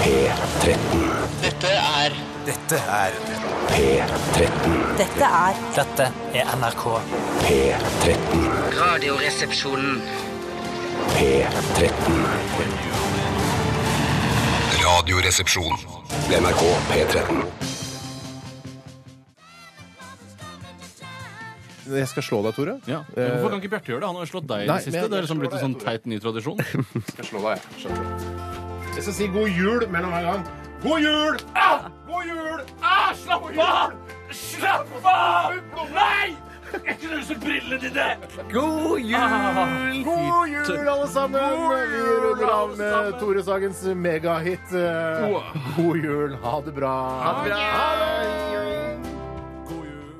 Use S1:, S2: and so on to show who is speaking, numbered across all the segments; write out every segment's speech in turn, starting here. S1: P13.
S2: Dette er
S3: Dette er
S1: P13.
S4: Dette er
S5: Dette er NRK.
S1: P13.
S2: Radioresepsjonen.
S1: P13.
S6: Radioresepsjon.
S1: NRK P13.
S7: Jeg skal slå deg, Tore.
S8: Ja. Men Hvorfor kan ikke Bjarte gjøre det? Han har jo slått deg i
S7: Nei,
S8: det
S7: men
S8: siste.
S7: jeg-
S8: Det er liksom blitt en sånn teit ny tradisjon.
S7: Jeg skal slå deg. Skjønner du. Jeg skal si god jul mellom hver gang. God jul! Ah! God jul! Ah, slapp av! Slapp av! Nei! Jeg knuser brillene dine! God jul! Ah! God jul, alle sammen! Vi runder av med Tore Sagens megahit. eh, God jul. Ha det bra. Ha det bra. God jul.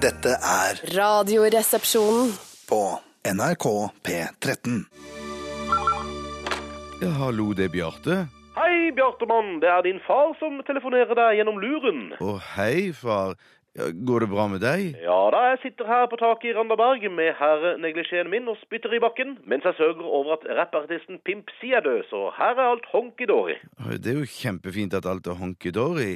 S9: Dette er
S10: Radioresepsjonen.
S9: på NRK P13.
S11: Ja, hallo, det er Bjarte.
S12: Hei, Bjartemann. Det er din far som telefonerer deg gjennom luren.
S11: Å, hei, far. Ja, Går det bra med deg?
S12: Ja da, jeg sitter her på taket i Randaberg med herreneglisjeen min og spytter i bakken, mens jeg sørger over at rappartisten Pimp Si er død, så her er alt honky-dory.
S11: Å, Det er jo kjempefint at alt er honky-dory.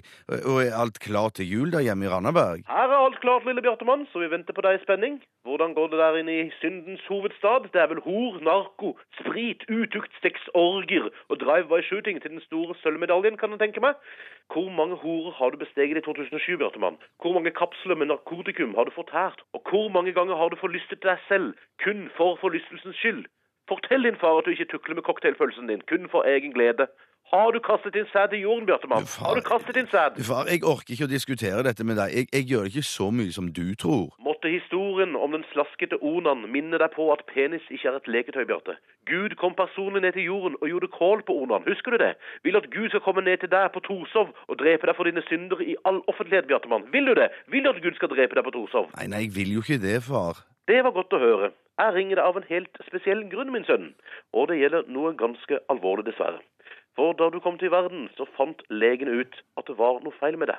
S11: Og er alt klart til jul der hjemme i Randaberg?
S12: Her er alt klart, lille Bjartemann, så vi venter på deg i spenning. Hvordan går det der inne i syndens hovedstad? Det er vel hor, narko, sprit, utukt, sex, orger og drive-by-shooting til den store sølvmedaljen, kan jeg tenke meg. Hvor mange horer har du besteget i 2007, Bjartemann? Hvor mange kapsler med narkotikum har du fortært? Og hvor mange ganger har du forlystet deg selv, kun for forlystelsens skyld? Fortell din far at du ikke tukler med cocktailfølelsen din, kun for egen glede. Har du kastet din sæd i jorden, Bjartemann? Har du kastet din sæd?
S11: Far, jeg orker ikke å diskutere dette med deg. Jeg, jeg gjør det ikke så mye som du tror.
S12: Måtte historien om den slaskete onan minne deg på at penis ikke er et leketøy, Bjarte. Gud kom personlig ned til jorden og gjorde kål på onan, husker du det? Vil at Gud skal komme ned til deg på Torshov og drepe deg for dine synder i all offentlighet, Bjartemann. Vil du det? Vil du at Gud skal drepe deg på Torshov?
S11: Nei, nei, jeg vil jo ikke det, far.
S12: Det var godt å høre. Jeg ringer deg av en helt spesiell grunn, min sønn. Og det gjelder noe ganske alvorlig, dessverre. For da du kom til verden, så fant legene ut at det var noe feil med deg.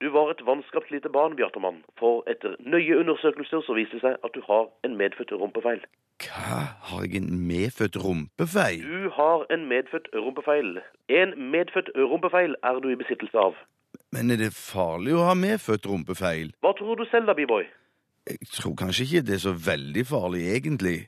S12: Du var et vanskapt lite barn, Bjartemann, for etter nøye undersøkelser så viste det seg at du har en medfødt rumpefeil.
S11: Har jeg en medfødt rumpefeil?
S12: Du har en medfødt rumpefeil. En medfødt rumpefeil er du i besittelse av.
S11: Men er det farlig å ha medfødt rumpefeil?
S12: Hva tror du selv da, B-boy?
S11: Jeg tror kanskje ikke det er så veldig farlig, egentlig.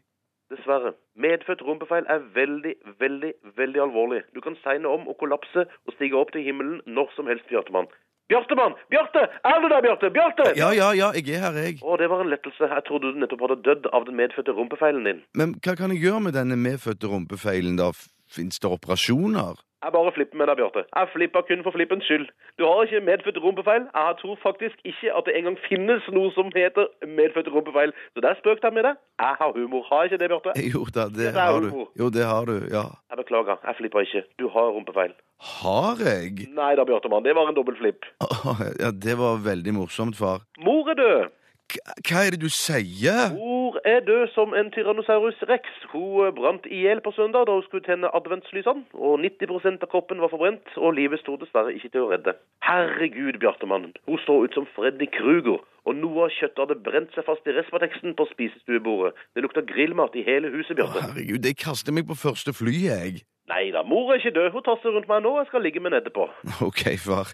S12: Dessverre. Medfødt rumpefeil er veldig, veldig, veldig alvorlig. Du kan segne om og kollapse og stige opp til himmelen når som helst, Bjartemann. Bjartemann! Bjarte! Er du der, Bjarte? Bjarte!
S11: Ja, ja, ja, jeg er her, jeg.
S12: Å, det var en lettelse. Jeg trodde du nettopp hadde dødd av den medfødte rumpefeilen din.
S11: Men hva kan jeg gjøre med denne medfødte rumpefeilen, da? Fins det operasjoner?
S12: Jeg bare flipper med deg, Bjarte. Jeg flipper kun for flippens skyld. Du har ikke medfødt rumpefeil. Jeg tror faktisk ikke at det engang finnes noe som heter medfødt rumpefeil. Så der spøkte jeg med deg. Jeg har humor. Har jeg ikke det, Bjarte?
S11: Jo da, det
S12: Dette er
S11: har du.
S12: humor.
S11: Jo, det har du, ja.
S12: Jeg beklager. Jeg flipper ikke. Du har rumpefeil.
S11: Har jeg?
S12: Nei da, Bjartemann. Det var en dobbeltflipp.
S11: Åh, Ja, det var veldig morsomt, far.
S12: Mor er død.
S11: Hva er det du sier?
S12: Mor er død som en tyrannosaurus rex. Hun eh, brant i hjel på søndag da hun skulle tenne adventslysene, og 90 av kroppen var forbrent, og livet sto dessverre ikke til å redde. Herregud, Bjartemann, hun så ut som Freddy Kruger, og noe av kjøttet hadde brent seg fast i respateksten på spisestuebordet. Det lukta grillmat i hele huset, Bjarte.
S11: Herregud, jeg kaster meg på første fly, jeg.
S12: Nei da, mor er ikke død. Hun tasser rundt meg nå, jeg skal ligge med henne etterpå.
S11: Ok, far.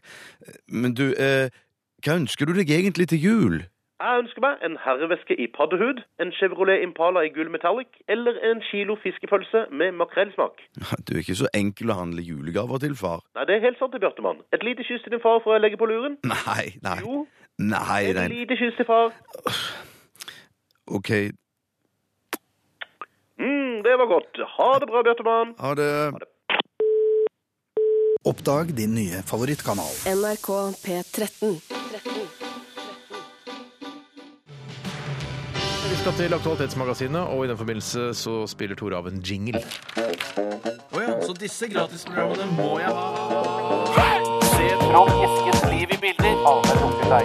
S11: Men du, eh, hva ønsker du deg egentlig til jul?
S12: Jeg ønsker meg en herreveske i paddehud, en Chevrolet Impala i gull metallic, eller en kilo fiskepølse med makrellsmak.
S11: Du er ikke så enkel å handle julegaver til, far.
S12: Nei, det er helt sant, det, Bjartemann. Et lite kyss til din far før jeg legger på luren.
S11: Nei, nei.
S12: Jo.
S11: Nei,
S12: Et
S11: nei.
S12: lite kyss til far.
S11: Ok,
S12: Mm, det var godt. Ha det bra, Bjartemann.
S11: ha det.
S9: Oppdag din nye favorittkanal.
S10: NRK P13.
S3: Vi skal til Aktualitetsmagasinet, og i den forbindelse så spiller Tore av en jingle.
S8: Å ja, så disse gratisprogrammene må jeg ha.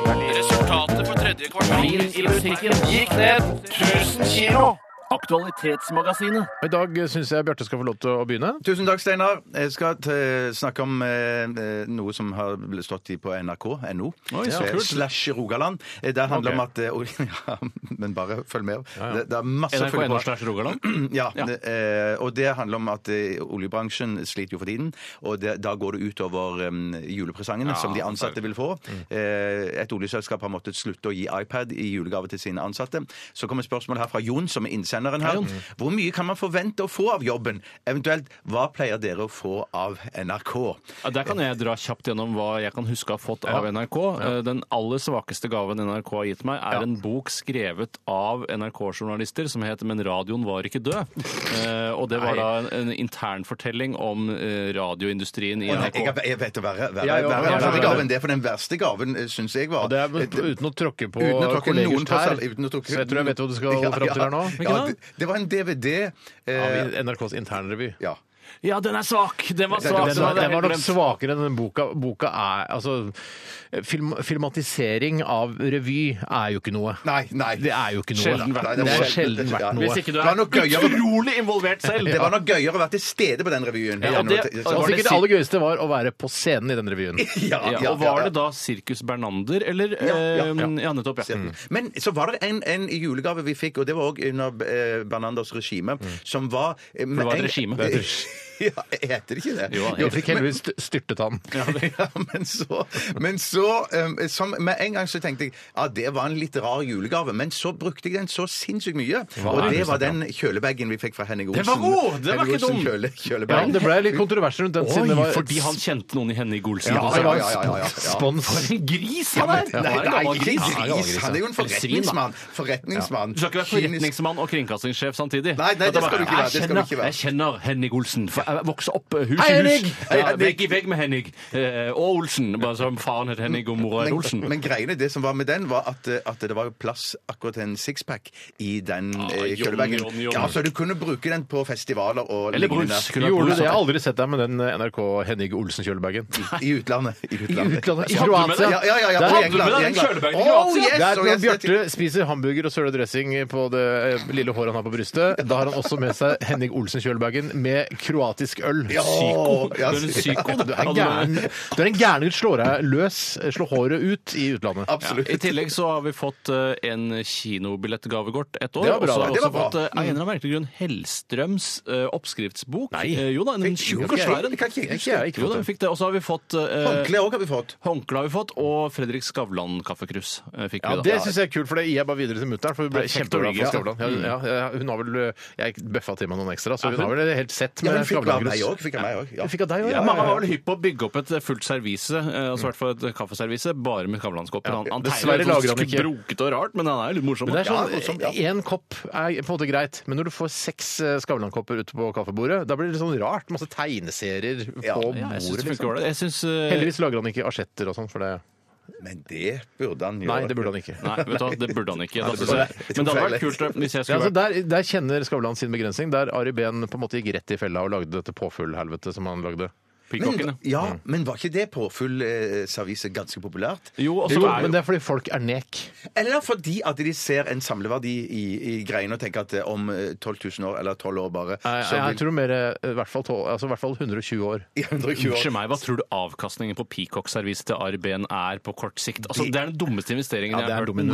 S8: Resultatet på tredje kvartal i musikken gikk ned 1000 kilo. Aktualitetsmagasinet.
S3: I dag syns jeg Bjarte skal få lov til å begynne.
S11: Tusen takk, Steinar. Jeg skal eh, snakke om eh, eh, noe som har blitt stått i på nrk.no.
S3: så
S11: Eh,
S3: kult.
S11: Slash Rogaland. Eh, Det handler om at eh, ol- ja, Men bare følg med. Det, det er masse å følge på.
S8: NRK.no slash Rogaland.
S11: Ja, det, eh, og det handler om at eh, oljebransjen sliter jo for tiden, og det, da går det utover um, julepresangene som de ansatte vil få.
S8: Mm.
S11: Eh, et oljeselskap har måttet slutte å gi iPad i julegave til sine ansatte. Så kommer spørsmålet her fra Jon, som er innsenderen her. Hvor mye kan man forvente å få av jobben? Eventuelt, hva pleier dere å få av NRK?
S8: Ja, Der kan jeg dra kjapt gjennom hva jeg kan huske å ha fått av NRK. Eh, Den aller svakeste gaven NRK har gitt meg, er en bok skrevet av NRK-journalister som het 'Men radioen var ikke død'. Eh, Og det var da en- en internfortelling om eh, radioindustrien i
S11: Å, nei, jeg,
S8: NRK.
S11: jeg vet å være, være,
S3: Ja, ja,
S11: være,
S3: ja, ja, ja.
S11: gaven. Det er for den verste gaven, syns jeg var.
S3: Og det er uten å tråkke på
S11: Uten å tråkke
S3: kollegers
S11: noen tross
S3: tær.
S11: alt, uten å tråkke-
S3: Så jeg tror jeg vet hva du skal
S11: Ja,
S3: fram til her nå.
S11: ja. Ja, det, det var en DVD. Eh,
S3: Av NRKs internrevy.
S11: ja.
S8: Ja, den er svak! Den var svak!
S3: Den var,
S8: den
S3: den var
S8: hadde jeg
S3: nok
S8: helt glemt.
S3: svakere enn den boka. Boka er Altså, film, filmatisering av revy er jo ikke noe.
S11: Nei, nei.
S3: Det er jo ikke noe.
S8: Sjelden vært
S3: Det
S11: noe.
S3: er sjelden vært
S11: Ja.
S3: noe.
S8: Hvis ikke du
S11: Det var
S8: er
S11: nok gøyere-
S8: utrolig involvert selv!
S11: Det var nok gøyere å være til stede på den revyen.
S8: Ja, og det-
S3: Og
S8: Var
S3: sikkert
S8: det
S3: det
S8: si-
S3: aller gøyeste var å være på scenen i den revyen.
S11: ja, ja,
S8: Ja, og var det da Sirkus Bernander, eller?
S11: Ja, ja,
S8: eh,
S11: ja.
S8: ja nettopp. Ja.
S3: Mm.
S11: Men så var det en, en julegave vi fikk, og det var òg under eh, Bernanders regime,
S3: Mm.
S11: som var For
S8: det var et regime. Det er et
S11: Ja, heter det ikke det?
S8: Jo,
S3: Vi fikk
S11: men-
S3: heldigvis st- styrtet han.
S11: Ja, men så, men så eh, som, Med en gang så tenkte jeg ja, det var en litt rar julegave, men så brukte jeg den så sinnssykt mye. og
S3: er det
S11: det
S3: du
S11: var den kjølebagen vi fikk fra Henning Olsen.
S8: Den var god! Den var
S11: Henning
S8: ikke
S11: Olsen
S8: dum.
S11: Kjøle,
S3: Ja,
S11: kjølebag.
S3: det ble litt kontrovers rundt den siden det
S8: Oi,
S3: var
S8: fordi han kjente noen i Henny
S3: ja,
S8: Golsen. på
S3: det
S8: seg.
S3: var
S11: Ja, ja, ja, ja, ja.
S3: spons.
S8: For en gris han
S11: Nei,
S8: er! Han er en
S11: nei,
S8: gammel
S11: ikke
S8: gris.
S11: gris. Han er jo en
S8: Eller svin, da.
S11: forretningsmann. Forretningsmann.
S8: Du skal ikke være
S11: Kynisk-
S8: forretningsmann og kringkastingssjef samtidig.
S11: Nei, nei, det
S8: At bare,
S11: skal du ikke være, det
S8: Jeg
S11: skal du ikke være.
S8: kjenner, jeg kjenner Henning Olsen. For jeg vokste opp eh, hus
S3: Hei,
S8: i
S3: Henning!
S8: hus.
S11: Hei,
S8: Ja,
S11: Henning!
S8: Vegg i vegg med Henning. Eh, Og Olsen. Bare som faren het Henning og mora het Olsen.
S11: Men, men greiene, det som var med den, var at, eh, at det var jo plass akkurat til en sixpack i den ah,
S8: Jon,
S11: kjølebagen.
S8: Jon, Jon.
S11: Ja, så du kunne bruke den på festivaler og
S8: Eller
S11: lignende.
S8: brus. Kunne
S3: Gjorde du det?
S8: vært
S3: Jeg
S8: brus.
S3: har aldri sett deg med den eh, NRK Henning Olsen-kjølebagen.
S11: I utlandet. I
S3: I
S11: utlandet.
S8: Hadde du med
S3: Kroatia.
S8: den?
S11: Ja, ja, ja, ja.
S3: Der-
S11: i England,
S8: Hadde du
S11: i
S8: med den
S11: England.
S8: kjølebagen i
S11: Oh,
S8: Kroatia?
S11: yes,
S3: Det er
S11: oh,
S3: Når
S11: yes,
S3: Bjarte spiser hamburger og søledressing på det eh, lille håret han har på brystet, da har han også med seg Henning Olsen-kjølebagen med kroatisk øl.
S11: Ja,
S3: Psyko.
S11: ja,
S8: Du er en psyko, du.
S3: Du er gæren. Du er en gæren gutt. Slår deg løs, slår håret ut i utlandet.
S11: Absolutt.
S8: I tillegg så har vi fått eh, en kinobillettgavekort et år.
S3: Det var
S8: Og
S3: bra,
S8: så har
S3: det.
S8: vi
S11: Det
S8: også
S11: var
S8: fått
S11: bra.
S8: eh, av en eller annen merkelig grunn Hellstrøms eh, oppskriftsbok.
S3: Nei.
S8: Eh, Jo da, en tjukk og svær en.
S11: Kan ikke jeg huske.
S3: Ikke jeg, ikke
S8: Jo da,
S3: fått
S8: vi
S3: det.
S8: fikk det. Og så har vi fått eh,
S11: Håndkle òg har vi fått.
S8: Håndkle har vi fått, og Fredrik Skavlan-kaffekrus eh, fikk
S3: Ja,
S8: vi da.
S3: det syns jeg er kult, for det gir jeg bare videre til mutter'n. For hun ble
S8: Det er
S3: kjempeglad for
S8: kjempeglad.
S3: Skavlan. Ja, ja, ja, hun har vel eh, Jeg bøffa til meg noen ekstra, så
S8: Mm. Ja,
S3: hun har
S8: hun-
S3: vel et helt sett
S11: Ja,
S3: med
S11: men fikk av meg
S3: Skavlan-grus.
S11: òg. Fikk av meg òg. Ja.
S3: Jeg Fikk av deg òg,
S8: Ja,
S3: ja.
S8: Mamma var vel hypp på å bygge opp et fullt servise, eh, altså i hvert fall et kaffeservise, bare med Skavlan-kopper. Han, han
S3: Dessverre
S8: tegner jo
S3: lager han
S8: sånn
S3: ikke.
S8: brokete og rart, men han er jo litt morsom.
S3: Men det er
S8: Ja,
S3: sånn, Én kopp er på en måte greit, men når du får seks eh, Skavlan-kopper ute på kaffebordet, da blir det sånn rart. Masse tegneserier på
S11: Ja,
S3: bordet.
S8: ja, jeg syns det
S3: liksom.
S8: funker ålreit. Jeg syns eh,
S3: Heldigvis lager han ikke asjetter og sånn, for det
S11: Men det burde han gjøre.
S3: Nei, det burde han ikke.
S8: Nei, vet du hva, det burde han ikke. Da
S11: det
S8: synes
S11: burde
S8: jeg.
S11: han ikke.
S8: Men det hadde vært kult eh, hvis jeg
S3: Ja,
S8: skulle
S3: altså
S8: vært
S3: der, der kjenner Skavlan sin begrensning. Der Ari Behn på en måte gikk rett i fella og lagde dette påfuglhelvetet som han lagde.
S11: Men,
S8: pikkokken.
S11: ja, men var ikke det påfull eh, servise ganske populært?
S8: eh, Jo, og så
S3: Jo,
S8: er
S3: men
S8: jo
S3: det er fordi folk er nek.
S11: Eller fordi at de ser en samleverdi i, i greiene og tenker at eh, om eh, 12 000 år, eller 12 år bare,
S3: Jeg,
S11: så
S3: jeg
S11: vil
S3: tror mer eh, i hvert fall, tå- altså, i hvert fall 120 år.
S11: i 120 år
S8: Unnskyld meg, Hva tror du avkastningen på Peacock-serviset til Ari Behn er på kort sikt? Altså, Det er den dummeste investeringen
S3: Ja, det er
S8: jeg har hørt.
S3: dum
S11: Nei,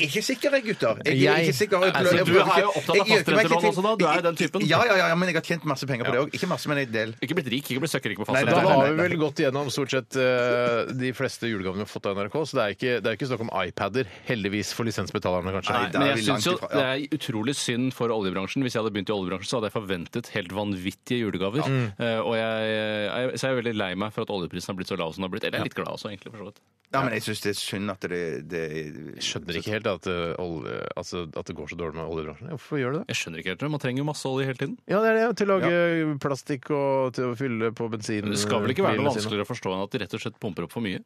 S11: jeg er ikke sikker, jeg, gutter. Jeg, er
S3: Jeg-
S11: ikke sikker. Jeg,
S8: Altså,
S11: jeg-
S8: du
S11: jeg-
S8: er jo opptatt av
S11: jeg- jeg-
S8: fastrentelån
S11: jeg-
S8: også da, du er jo den typen.
S11: Ja, ja, ja, ja, men jeg har tjent masse penger på det òg. Ikke masse, men en del.
S8: Ikke blitt rik, ikke blitt søkkrik på
S11: Nei,
S3: Da
S11: nei,
S8: fastlandet.
S11: nei.
S3: har vi vel gått gjennom stort sett eh, de fleste julegavene vi har fått av NRK, så det er ikke, det er ikke snakk om iPader. Heldigvis for lisensbetalerne, kanskje.
S8: Nei,
S11: der
S8: men
S11: er
S8: jeg
S11: vi langt
S8: synes jo
S11: ifra,
S8: Det
S11: ja.
S8: er utrolig synd for oljebransjen. Hvis jeg hadde begynt i oljebransjen, så hadde jeg forventet helt vanvittige julegaver.
S11: Mm.
S8: Eh, og jeg, jeg, så jeg er veldig lei meg for at oljeprisen har blitt så lav som den har blitt. Eller jeg er litt glad også, egentlig. for så vidt.
S11: Ja, men jeg syns det er synd at det, det
S3: Jeg skjønner ikke helt at, eh, olje, altså, at det går så dårlig med oljebransjen. Hvorfor gjør det det?
S8: Jeg skjønner ikke helt det. Man trenger jo masse olje hele tiden.
S3: Ja, det er det. Til å lage plastikk og til å fylle på bensin.
S8: Mm, Det skal vel ikke være noe
S3: bilene sine.
S8: vanskeligere å forstå enn at de rett og slett pumper opp for mye?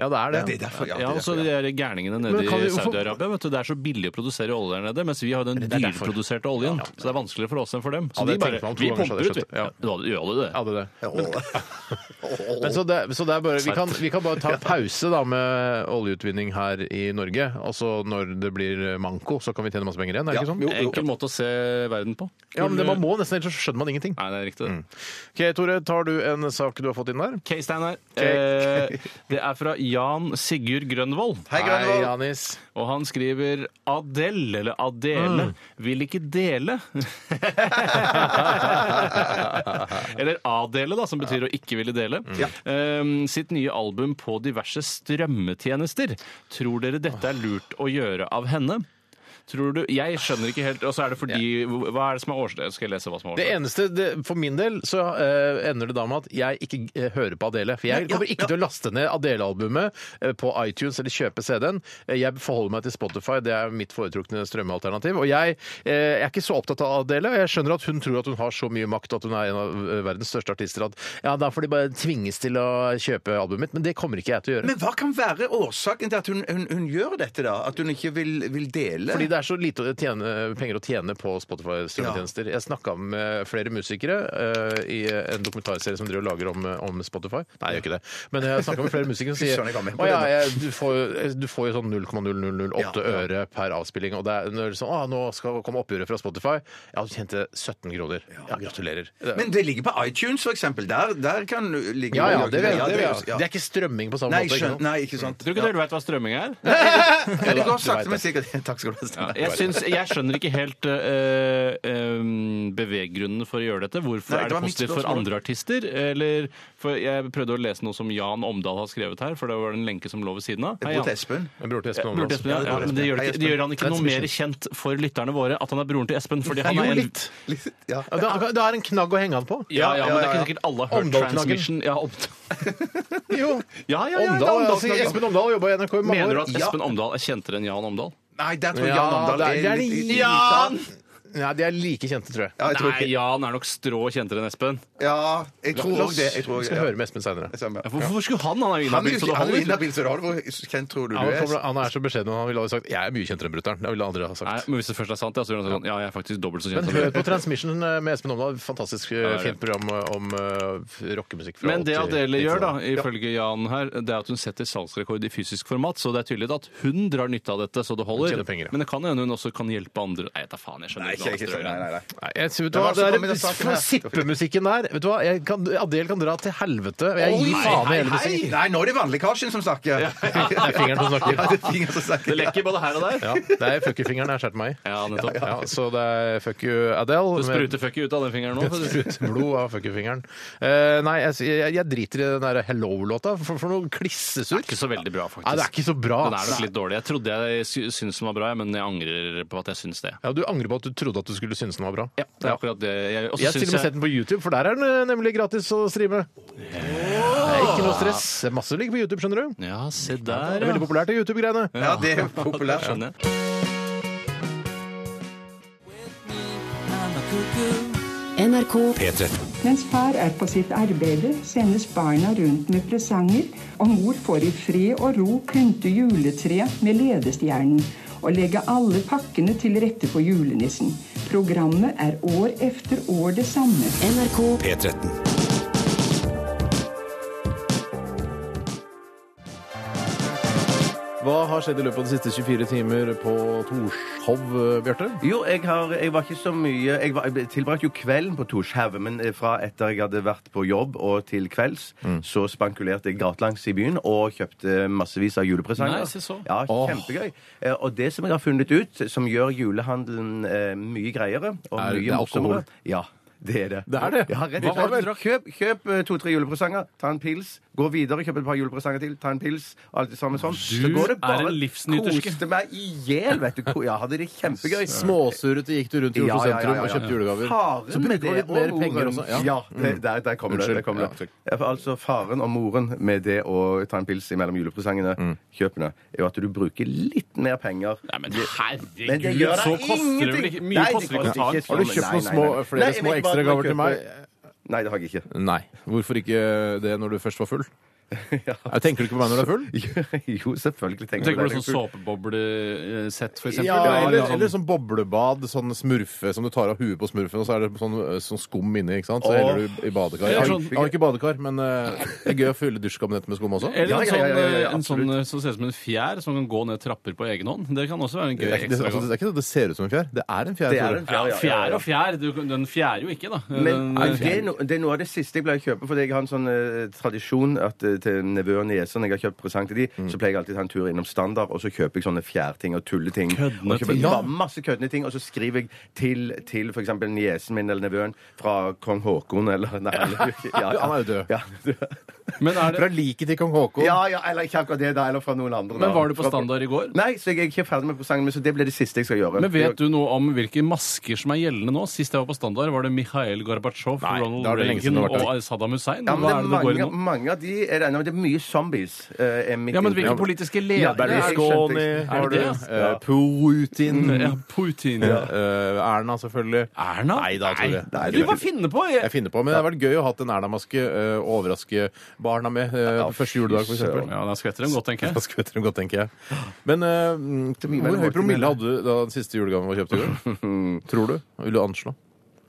S3: Ja, det er det.
S11: Det er derfor, ja. det er
S8: Ja, og så
S11: derfor,
S8: de
S11: ja.
S8: der gærningene nede
S3: Men kan
S8: i
S3: vi få-
S8: Saudi-Arabia. vet du, Det er så billig å produsere olje der nede, mens vi har den
S3: Det er derfor.
S8: dyreproduserte oljen. Så det er vanskeligere for oss enn for dem. Så
S3: Ja,
S8: de
S3: det tenkte
S8: bare
S3: man to
S8: Vi
S3: ganger, så
S8: pumper
S3: hadde
S8: ut,
S3: jeg
S8: vi.
S3: skjønt. Ja.
S8: Ja, da gjør det det.
S3: Ja, det er det.
S11: Åh.
S3: Men så det, så det er bare, vi, kan, vi kan bare ta pause da med oljeutvinning her i Norge. Altså når det blir manko, så kan vi tjene masse penger igjen. er det
S11: Ja,
S3: ikke sånn?
S11: jo, jo.
S8: Enkel måte å se verden på.
S3: Ja, men det Mm. man må nesten, ellers så skjønner man ingenting.
S8: Nei, det er riktig. det.
S3: Ok, Tore, tar du en sak du har fått inn der?
S8: K. Steinar. Eh, det er fra Jan Sigurd Grønvoll.
S11: Hei, Grønvold.
S3: Janis.
S8: Og han skriver Adele, eller Adele, vil ikke dele. eller Adele, da, som betyr å ikke ville dele. Ehm, sitt nye album på diverse strømmetjenester. Tror dere dette er lurt å gjøre av henne? Tror du, Jeg skjønner ikke helt. Og så er det fordi Hva er det som er årsaken? Skal jeg lese hva som er
S3: Det
S8: årsaken?
S3: eneste, det, For min del så eh, ender det da med at jeg ikke eh, hører på Adele. For jeg kommer ikke til å laste ned Adele-albumet eh, på iTunes eller kjøpe CD-en. Eh, Jeg forholder meg til Spotify, det er mitt foretrukne strømmealternativ. Og jeg eh, er ikke så opptatt av Adele. og Jeg skjønner at hun tror at hun har så mye makt at hun er en av eh, verdens største artister at ja, da får de bare tvinges til å kjøpe albumet mitt. Men det kommer ikke jeg til å gjøre.
S11: Men hva kan være årsaken til at hun, hun, hun gjør dette, da? At hun ikke vil, vil dele?
S3: Fordi det er så lite å tjene, penger å tjene på Spotify-strømmetjenester. Jeg snakka med flere musikere eh, i en dokumentarserie som driver og lager om, om Spotify. Nei, jeg gjør ikke det. Men jeg snakka med flere musikere som
S11: Skjønner jeg ikke hva
S3: sier Å
S11: jeg mener.
S3: ja, jeg, du, får, jo- du får jo sånn 0,0008
S11: Ja, ja.
S3: øre per avspilling. Og det er, når det er sånn, å, nå skal komme oppgjøret fra Spotify. Ja, du tjente 17 kroner. Ja, gratulerer. Det er-
S11: Men det ligger på iTunes, for eksempel. Der, der kan ligge
S3: ja, ja, det, vet- det, vet-
S11: ja.
S3: det er ikke strømming på samme
S11: Nei,
S3: måte. ikke
S11: skjønn,
S3: sant?
S11: nei, ikke sant.
S8: Tror du ikke dere vet hva strømming er?
S11: Ja, det
S3: Du
S11: går
S3: vet
S11: sakte,
S3: det.
S11: men sikkert. Takk skal du ha. Steinar.
S8: Jeg, syns, jeg skjønner ikke helt eh, eh, beveggrunnene for å gjøre dette. Hvorfor
S11: Nei, det
S8: er det
S11: var mitt
S8: positivt for
S11: spørsmål.
S8: andre artister? Eller, for jeg prøvde å lese noe som Jan Omdal har skrevet her, for det var en lenke som lå ved siden av. Hei,
S11: Bror til
S8: Jan.
S11: Espen.
S3: Men Bror til Espen
S8: Ja, Bror til
S3: Omdal.
S8: Espen,
S11: Ja, det er bror
S8: ja, ja,
S11: til
S8: men det gjør,
S11: Espen.
S8: ikke, det gjør han ikke
S3: Hei,
S8: noe
S3: Espen.
S8: mer kjent for lytterne våre at han er broren til Espen.
S3: Det
S8: Fordi
S3: er
S8: han
S3: jo
S8: er en,
S3: litt.
S11: Litt- Ja.
S3: Ja, Det er- det er en knagg å henge han på.
S8: ja, ja,
S11: ja,
S8: men det er
S11: ja.
S8: ikke sikkert alle har hørt
S3: Omdal-knaggen.
S8: Transmission. Ja, Omdal-
S3: Jo.
S8: ja, ja, ja,
S3: Omdal,
S8: Omdal-knaggen.
S3: altså, Espen Omdal jobba i NRK i mange år.
S8: Mener du at
S11: Ja.
S8: Espen Omdal er kjentere enn Jan Omdal?
S11: Nei, der tror jeg
S3: Ja,
S11: Jan Omdal
S3: det er- det er
S11: litt-
S3: litt-
S11: Ja,
S3: Nei, de er like kjente, tror jeg.
S11: jeg tror
S8: Nei,
S11: ikke
S8: Jan er nok strå kjentere enn Espen.
S11: Ja, jeg tror
S3: La
S11: også
S3: oss-
S11: det. Jeg tror,
S3: vi
S11: også-
S3: skal
S11: ja.
S3: høre med Espen seinere.
S11: Samme.
S8: Hvorfor hvorfor skulle han? Han er
S11: Han er
S8: jo
S11: jo
S8: inhabil, så det
S11: ikke- han er jo
S8: holder.
S11: inhabil, så det holder. Hvor kjent tror du du
S3: Ja, han, kommer,
S11: er?
S3: han er så beskjeden, og han ville aldri sagt 'jeg er mye kjentere enn brutter'n'. Det ville han aldri ha
S8: Nei,
S3: sagt.
S8: men hvis det først er sant, ja, så gjør han sånn. Ja, jeg er faktisk dobbelt så kjent.
S3: Men
S8: som
S3: hør
S8: dere.
S3: på Transmission eh, med Espen Omdal. Fantastisk eh,
S8: det er
S3: fint program om eh, rockemusikk. fra
S8: Men det
S3: 80-
S8: Adele gjør, da,
S3: 90-tallet.
S8: ifølge Jan her, det er at hun setter salgsrekord i fysisk format. Så det er tydelig at hun drar nytte av dette så det
S3: Hun
S8: holder.
S3: tjener penger, ja.
S8: Men det kan hende hun også kan hjelpe andre. Nei, da faen, jeg
S11: Nei,
S8: skjønner
S3: Nei,
S11: ikke, ikke, nei, nei, nei.
S8: ikke. hva han gjør.
S3: jeg, vet du hva,
S11: Hvem var det som
S3: det
S11: kom med
S3: der
S11: den saken her?
S3: for sippemusikken der vet du hva, jeg kan, Adele kan dra til helvete. og Jeg gir
S11: Oi,
S3: faen i
S11: hei,
S3: hele
S11: hei!
S3: musikken.
S11: Nei, nå er det vannlekkasjen som snakker. Ja,
S3: Det er fingeren som
S11: det
S3: snakker.
S11: er fingeren som snakker.
S8: Det lekker både her og der.
S3: Ja, det er fuckerfingeren jeg har skåret meg i.
S8: Ja, nettopp.
S3: Ja, så det er fuck you, Adele.
S8: Det
S3: med-
S8: spruter fucket ut av den fingeren nå. for å si- sånn.
S3: Sprut blod av fuckerfingeren. Eh, nei, jeg, jeg, jeg driter i den der Hello-låta. For, for noe klissesur.
S8: Det er ikke så veldig
S3: Nei,
S8: bra,
S3: det er
S8: faktisk.
S3: ikke så bra. altså.
S8: Den er
S3: ass.
S8: nok litt dårlig. Jeg trodde jeg sy- syntes den var bra, men jeg angrer på at jeg syns det.
S3: Ja, Du angrer på at du trodde at du skulle synes den var bra.
S8: Ja, det er akkurat det. Jeg, også
S3: Jeg har til og
S8: syns
S3: med sett den på YouTube, for der er den eh, nemlig gratis å streame. Det er ikke noe stress. Det er Masse ligger på YouTube, skjønner du.
S8: Ja, se
S3: Det
S8: der,
S3: er veldig populært, det YouTube-greiene.
S11: Ja, det er
S8: Der
S11: populært.
S8: skjønner jeg.
S10: NRK
S1: P13.
S4: Mens far er på sitt arbeide, sendes barna rundt med presanger, og mor får i fred og ro pynte juletreet med ledestjernen og legge alle pakkene til rette for julenissen. Programmet er år efter år det samme.
S10: NRK
S1: P13.
S3: Hva har skjedd i løpet av de siste 24 timer på Torshov, eh, Bjarte?
S11: Jo, jeg, har, jeg var ikke så mye Jeg, var, jeg tilbrakte jo kvelden på Torshov, men eh, fra etter jeg hadde vært på jobb og til kvelds, så spankulerte jeg gatelangs i byen og kjøpte massevis av julepresanger.
S8: Nei, se så.
S11: Ja,
S3: Åh.
S11: Kjempegøy. Eh, Og det som jeg har funnet ut, som gjør julehandelen eh, mye greiere og
S3: Er det
S11: mye
S3: alkohol?
S11: morsommere Ja. Det er det.
S3: Det er det?
S11: Ja, rett
S3: Hva
S11: og
S3: var det
S11: slett. Kjøp, kjøp eh, to-tre julepresanger, ta en pils, gå videre, kjøp et par julepresanger til, ta en pils, alt det samme sånn.
S8: Du er en livsnyterske.
S11: Koste meg i hjel, vet du. Ko- Ja, hadde det kjempegøy.
S3: Småsurrete gikk du rundt i Oslo sentrum og kjøpte julegaver.
S11: Faren
S3: Så
S11: med
S3: brukte man
S11: det
S3: litt mer
S11: og
S3: penger
S11: moren.
S3: også. Mm.
S11: Ja, det, der, der kommer det.
S3: Unnskyld.
S11: Der kommer
S3: Ja.
S11: det. Ja, for altså Faren og moren med det å ta en pils imellom julepresangene, kjøpene, er jo at du bruker litt mer penger.
S8: Nei, men herregud,
S11: Men det gjør da
S8: så koster det vel ikke
S11: ingenting.
S8: Mye
S11: Nei, det
S8: koster det ikke å ta
S11: koster ikke
S8: en
S3: Har du
S11: så men
S3: kjøpt
S11: nei,
S3: noen
S11: nei,
S3: små,
S11: nei.
S3: flere
S11: Nei,
S3: små
S11: jeg vet ikke hva
S3: ekstra
S11: du
S3: gaver til
S11: kjøper.
S3: meg?
S11: Nei, det har jeg ikke.
S3: Nei. Hvorfor ikke det når du først var full? Jeg Tenker du ikke på meg når du er full?
S12: jo, selvfølgelig
S8: Du
S12: tenker
S8: tenker
S12: jeg det.
S8: på sånn såpeboblesett, for eksempel?
S3: Ja, eller, eller sånn boblebad, sånn smurfe som du tar av huet på smurfen, og så er det sånn, sånn skum inni, ikke sant? Så
S8: Åh.
S3: heller du i badekar. Jeg
S8: Ja,
S3: har,
S8: sånn-
S3: jeg har ikke badekar, men eh, det er gøy å fylle dusjkabinettet med skum også.
S8: Eller en sånn, eh, en
S3: absolutt.
S8: sånn eh, som ser ut som en fjær som kan gå ned trapper på egen hånd. Det kan også være en
S3: det
S8: gøy
S3: er, ikke, det, er, altså, det
S8: ekstragave.
S3: er ikke sånn at det ser ut som en fjær. Det er en fjær.
S12: Det er
S3: Tore.
S12: en fjær,
S8: Ja,
S12: ja, ja, ja.
S8: fjær og fjær. Du, den fjærer jo ikke, da.
S12: Men
S8: den, eh,
S12: det, er no, det er noe av det siste jeg pleier å kjøpe. For jeg har en sånn eh, tradisjon at eh, til nevøer og nieser når jeg har kjøpt presang til de,
S8: Mm.
S12: så pleier jeg alltid å ta en tur innom Standard, og så kjøper jeg sånne fjærting og tulleting.
S8: Køddende
S12: og kjøper,
S8: ting.
S12: Ja, masse køddende ting. Og så skriver jeg til, til f.eks. niesen min eller nevøen fra kong Haakon eller Nei, eller, ja,
S3: Han er jo død.
S12: Ja,
S8: men, er
S3: Fra
S8: det,
S3: liket til kong Haakon.
S12: ja, ja, eller ikke akkurat det, da. Eller fra noen andre. da.
S8: men var du på
S12: Fra-
S8: standard i går?
S12: Nei, så jeg er ikke ferdig med presangen min, så det blir det siste jeg skal gjøre.
S8: Men vet du noe om hvilke masker som er gjeldende nå? Sist jeg var på standard, var det Mikhail Gorbatsjov,
S3: Nei,
S8: Ronald
S3: da er det lenge siden
S8: Reagan
S3: det har vært
S8: og Saddam Hussein.
S12: Ja, men det
S8: Hva er
S12: er
S8: det det går i
S12: mange,
S8: nå?
S12: mange av de er det ennå. Det er mye zombies. eh, er mitt
S8: Ja, men
S12: inntrykk.
S8: hvilke politiske
S3: Ja,
S8: ledere er det?
S12: skjønte
S3: Berlusconi
S12: jeg.
S3: har
S8: Er
S3: du.
S8: det det?
S3: eh, Putin.
S8: Ja, Putin.
S3: eh, Erna, selvfølgelig.
S8: Erna?
S3: Nei da, Tore.
S12: nei,
S8: Du, hva finner på?
S3: Jeg
S8: Jeg...
S3: finner på, men det hadde vært gøy å ha hatt en Erna-maske eh, og overraske barna med eh, på første juledag, for eksempel.
S8: Ja, da skvetter de godt, tenker
S3: Da
S8: jeg.
S3: skvetter de godt, tenker jeg. Men eh, mm, hvor høy promille hadde du da den siste julegaven var kjøpt i går? Tror du? Vil du anslå?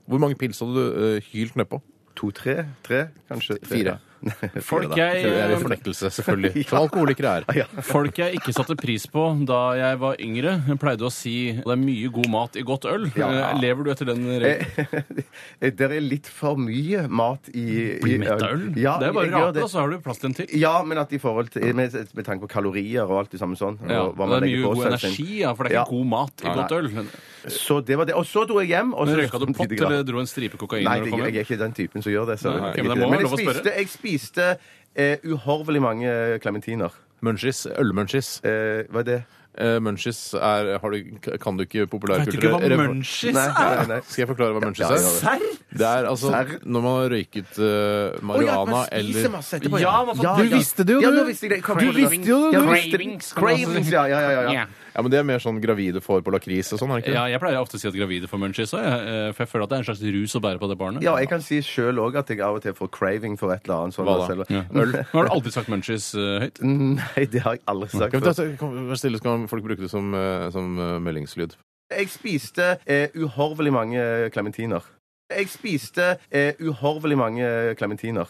S3: Hvor mange pils hadde du eh, hylt nedpå?
S12: To, tre? Tre, kanskje? Tre,
S3: Fire.
S12: ja. Nei, fire,
S8: Folk
S12: da.
S3: Det er jo
S8: jeg,
S3: fornektelse, selvfølgelig. Som alkoholikere er.
S12: Ja.
S8: folk jeg ikke satte pris på da jeg var yngre, pleide å si det er mye god mat i godt øl.
S12: Ja. eh,
S8: Eh, Lever du etter den regelen?
S12: Det er litt for mye mat i, i
S8: Blir mett av øl?
S12: Ja,
S8: det er
S12: jeg
S8: bare altså.
S12: gjør
S8: rake, og så har du plass til en til.
S12: Ja, men at i forhold til, med, med tanke på kalorier og alt det samme sånn.
S8: Ja,
S12: og hva
S8: det
S12: man
S8: er
S12: legger
S8: mye
S12: på
S8: god
S12: seg,
S8: energi, ja, for det er ikke
S12: Ja.
S8: god mat i
S12: Nei,
S8: godt
S12: nei.
S8: øl.
S12: Så det var det. Og så dro jeg hjem. Og så
S8: Men røyka du pott, eller dro en stripe kokain
S12: Nei,
S8: når du
S12: det,
S8: kom
S12: jeg er
S8: hjem?
S12: ikke den typen som gjør det. Så
S8: Nei, ok,
S12: jeg
S8: men det
S12: gidder det.
S8: må være
S12: jeg
S8: lov å
S12: spiste, jeg spiste eh, uhorvelig mange eh, klementiner.
S3: Munchies. Ølmunchies.
S12: Eh, hva er det?
S3: Eh, munchies er har du, Kan du ikke
S8: Vet du ikke hva
S3: populærkulturelle
S8: munchies
S12: Nei,
S8: er?
S12: nei, nei.
S3: Skal jeg forklare hva munchies
S12: Ja, ja,
S3: er?
S12: ja.
S8: Serr?
S3: Det er altså når man har røyket
S12: Å,
S3: eh,
S12: ja,
S3: marihuana
S12: man spiser
S3: eller
S12: masse etterpå,
S8: Ja, man får- Du
S3: visste det jo,
S12: Ja,
S3: du.
S12: nå visste jeg det. Kom,
S3: Du
S12: kom, kom.
S3: visste jo det,
S12: Ja,
S3: du.
S12: jeg visste det. Cravings, ja, ja, ja, ja.
S3: Ja, men Det er mer sånn gravide får på lakris og sånn, er det ikke?
S8: Ja, jeg pleier ofte å si at gravide får munchies òg, for jeg føler at det er en slags rus å bære på det barnet.
S12: Ja, jeg kan si sjøl òg at jeg av og til får craving for et eller annet. Sånn,
S3: Hva da?
S12: selv.
S8: Ja. Øl. Nå har du aldri sagt munchies eh, høyt.
S12: Nei, det har jeg aldri sagt.
S3: Kan vi ta,
S12: før.
S3: så kan- vær stille, så kan folk bruke det som, eh, som eh, meldingslyd.
S12: Jeg spiste eh, uhorvelig mange eh, klementiner. Jeg spiste eh, uhorvelig mange eh, klementiner.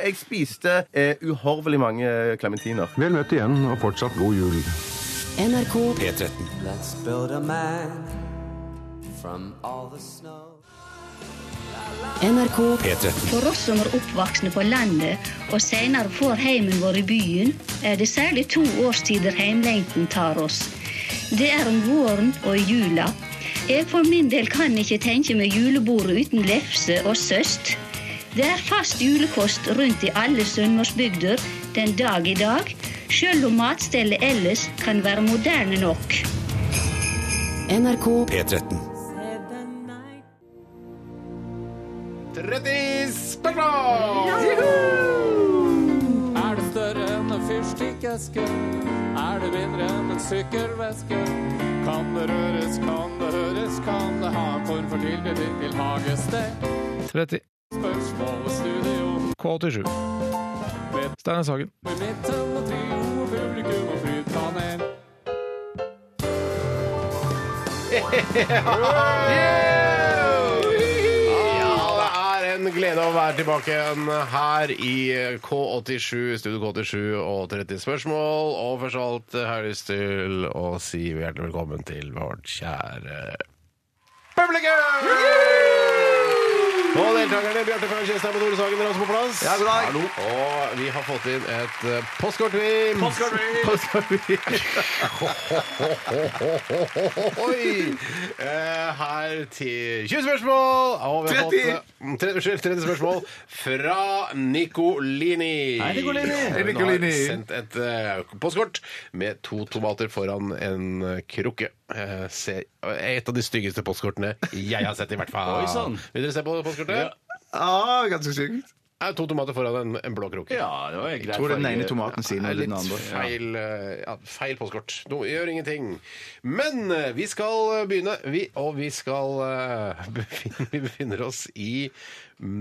S12: Jeg spiste eh, uhorvelig mange eh, klementiner.
S1: Vel møtt igjen, og fortsatt god jul.
S13: NRK
S14: P13.
S13: NRK
S14: P13.
S15: For oss som er oppvoksne på landet og senere får heimen vår i byen, er det særlig to årstider heimlengten tar oss. Det er om våren og i jula. Jeg for min del kan ikke tenke meg julebordet uten lefse og søst. Det er fast julekost rundt i alle sunnmørsbygder den dag i dag, sjøl om matstellet ellers kan være moderne nok.
S13: NRK
S14: P13.
S3: 30 spørsmål!
S8: Er det større enn en fyrstikkeske? Er det mindre enn en sykkelveske? Kan det røres, kan det høres, kan det ha en form for tilknytning til hagestek?
S16: 30.
S8: Spørsmål og studio
S16: K87. Steinar Sagen.
S8: i midten og trio og publikum og flypanel.
S3: Ja, det er en glede å være tilbake igjen her i K87, Studio K87 og 30 spørsmål. Og først av alt har jeg lyst til å si hjertelig velkommen til vårt kjære publikum! Og deltakerne Bjarte Karen Kjestad og Tore Sagen er også på plass.
S12: Ja, god dag.
S3: Hallo. Og vi har fått inn et eh, postkort-rim. Oi! Eh, her til 20 spørsmål. Og vi
S12: 30.
S3: har fått, eh, 30, unnskyld, 30 spørsmål fra Nicolini. Eh,
S8: Hei, Nicolini.
S3: Hun
S12: Nicolini.
S3: har sendt et eh, postkort med to tomater foran en eh, krukke. Eh, se, et av de styggeste postkortene jeg har sett, i hvert fall.
S8: Oi, sånn. sann.
S3: Vil dere se på postkortet?
S12: Ah, ganske sykt.
S3: er to tomater foran en, en blå krok.
S8: Ja, det var greit
S11: Jeg tror den ene tomaten siden
S3: er
S11: eller
S3: litt
S11: den andre.
S3: feil, eh, ja, feil postkort. No, gjør ingenting. Men eh, vi skal eh, begynne, vi, og vi skal eh, befinne, Vi befinner oss i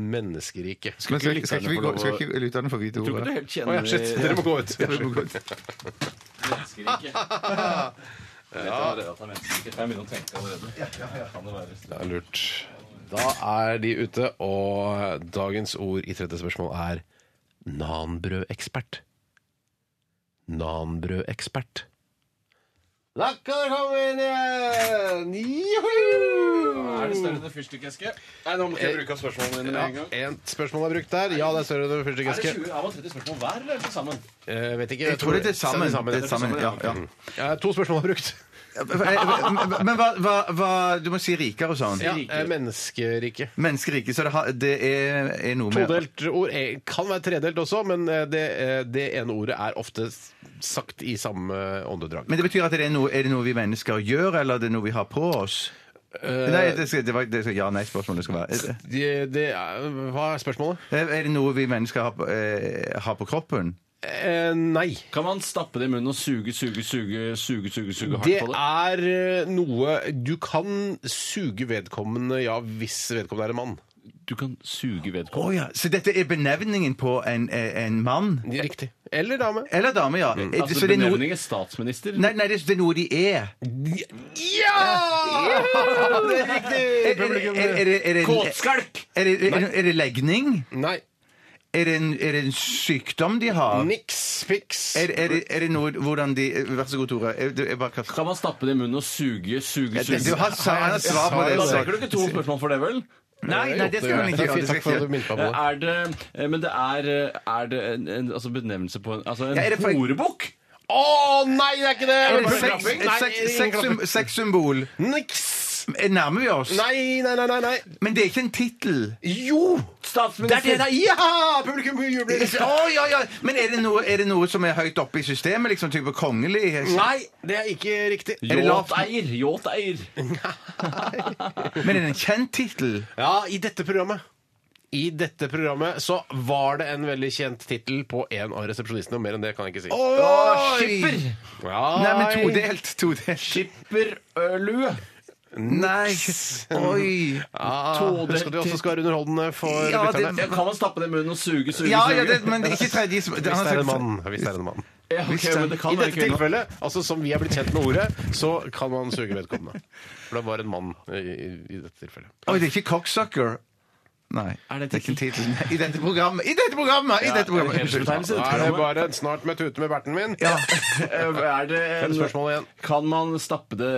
S3: menneskeriket.
S11: Men skal, skal, ikke vi gå, skal ikke lytterne få vite
S3: tror ikke
S11: ordet?
S3: du helt kjenner- Å, ja, shit, dere må gå ut.
S11: Eh, Ja, dere må gå ut.
S3: Det er lurt. Da er de ute, og dagens ord i tredje spørsmål er nanbrødekspert. Nanbrødekspert. Lakker sammen igjen!
S8: Er det
S3: Juhu!
S8: større enn en fyrstikkeske? Nei, nå må ikke jeg bruke av spørsmålene mine med en gang.
S3: Eh, Ja, ett spørsmål er brukt der. Ja, det er større enn en
S8: Er det
S3: fyrstikkeske.
S8: 20 av og 30 spørsmål hver, eller er det til sammen?
S3: Eh, vet ikke.
S11: Jeg tror det er til sammen. Det er til sammen, ja, ja.
S3: Mm. Ja, to spørsmål er brukt.
S11: Men men hva, hva, hva Du må si rikere og sånn. Eh,
S3: Ja, eh, menneskerike.
S11: Menneskerike. Så det, har, det er, er noe med
S3: Todelt ord eh, kan være tredelt også, men eh, det, eh, det ene ordet er ofte s- sagt i samme åndedrag.
S11: Men det betyr at det er, noe, er det noe vi mennesker gjør, eller er det noe vi har på oss? Nei, det skal, det var, det skal, ja, nei, spørsmålet skal være er det-
S3: Det, det er, hva er spørsmålet?
S11: Er det noe vi mennesker har, på- eh, har på kroppen?
S3: Eh, nei.
S8: Kan man stappe det i munnen og suge, suge, suge, suge, suge, suge hardt
S3: Det
S8: på det?
S3: er eh, noe Du kan suge vedkommende, ja, hvis vedkommende er en mann.
S8: Du kan suge
S11: Å
S8: vedkommende?
S11: ja. Så dette er benevningen på en, eh, en mann?
S3: Riktig. Eller dame.
S11: Eller dame, ja. Eh,
S8: Altså,
S11: så det er noe,
S8: benevning er statsminister?
S11: nei, nei, det er- det er noe de er.
S3: Ja! Det er
S11: eh,
S3: riktig!
S11: Er- er- er- er det- Er det, er, det- er det legning?
S3: Nei.
S11: Er det, en, er det en sykdom de har?
S3: Niks fiks.
S11: Er, er, det, er det noe hvordan de Vær så god, Tore. Jeg, jeg bare kaster
S8: Kan man stappe det i munnen og suge, suge,
S11: Du
S8: suge?
S11: har sa- han har svar på det.
S8: Da
S11: så-
S8: trenger du ikke to spørsmål for det, vel?
S11: Nei, nei, det skal man ikke gjøre. Det skal
S3: Takk
S11: ikke
S3: for at
S11: gjøre.
S3: du minnet meg på det.
S8: Eh, Er det, men det er, eh, er det en, en altså benevnelse på en, altså en
S11: Ja, er det for-
S8: horebukk?
S3: Å nei, det er ikke det!
S11: Er det
S3: Bare
S11: sex-
S3: klapping? Nei,
S11: sex-
S3: ingen klapping.
S11: sex- Sexsymbol.
S3: Niks!
S11: Er- Nærmer vi oss?
S3: Nei, nei, nei, nei. nei.
S11: Men det er ikke en tittel.
S3: Jo! Det er det
S8: Statsminister!
S3: der! Ja! Publikum jubler.
S11: Å, ja, ja. Men er det, noe, er det noe som er høyt oppe i systemet? Liksom type kongelig?
S3: Nei, det er ikke riktig.
S11: Er det lavt?
S8: Yachteier! Yachteier!
S11: Men er det en kjent tittel?
S3: Ja, i dette programmet. I dette programmet så var det en veldig kjent tittel på en av resepsjonistene, og mer enn det kan jeg ikke si.
S11: Oi!
S3: Nei,
S11: Nei, men todelt. Todelt.
S8: Skipperlue!
S11: Nei. Oi.
S3: Ah, husk at vi også skal være underholdende for
S11: Ja, det-
S3: lytterne.
S8: Kan man stappe det i munnen og suge, suge,
S11: Ja, ja,
S8: suge?
S11: det, men det er ikke tredje som
S3: Hvis det er en mann. Hvis det er en mann.
S8: Ja, ok, men det
S3: I
S8: kan være
S3: dette
S8: kvinner.
S3: tilfellet, altså som vi er blitt kjent med ordet, så kan man suge vedkommende. For det var en mann i, i dette tilfellet.
S11: Oi, det er ikke cocksucker. Nei.
S8: Er det
S11: Det er ikke tittelen. I dette programmet! I dette programmet! I dette programmet. Unnskyld.
S8: Hedersbetegnelse,
S3: Da er
S8: dette
S3: det
S8: programmet.
S3: bare snart med tute med berten min.
S8: Eh, Er det
S3: Fem spørsmål igjen.
S8: Kan man stappe det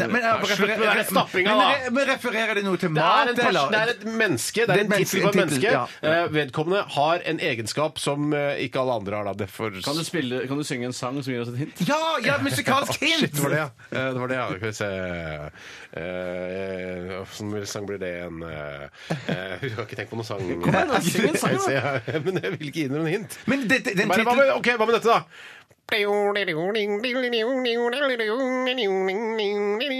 S11: Nei, men, jeg-
S3: Slutt med den stappinga,
S11: Men-
S3: da.
S11: men- Men refererer det noe til
S3: Det er,
S11: mat,
S3: en pers-
S11: eller?
S3: det er et menneske. Det er
S11: Det er
S3: en
S11: et
S3: tittel på et
S11: menneske,
S3: menneske.
S11: en tittel,
S3: Eh, Vedkommende har en egenskap som eh, ikke alle andre har. Da. Det får...
S8: kan, du spille, kan du synge en sang som gir oss et hint?
S11: Ja, ja, musikalsk hint!
S3: Shit, var det, ja. Eh, det var det, ja. Skal vi se eh, Hvilken sang blir det igjen? Eh, eh, jeg har ikke tenkt på noen sang. Kom
S8: igjen, da, syng en sang, da.
S3: Men jeg vil ikke gi noen hint.
S11: Men det, det, den
S3: Bare, hva,
S11: tittelen
S3: med, ok, hva med dette, da?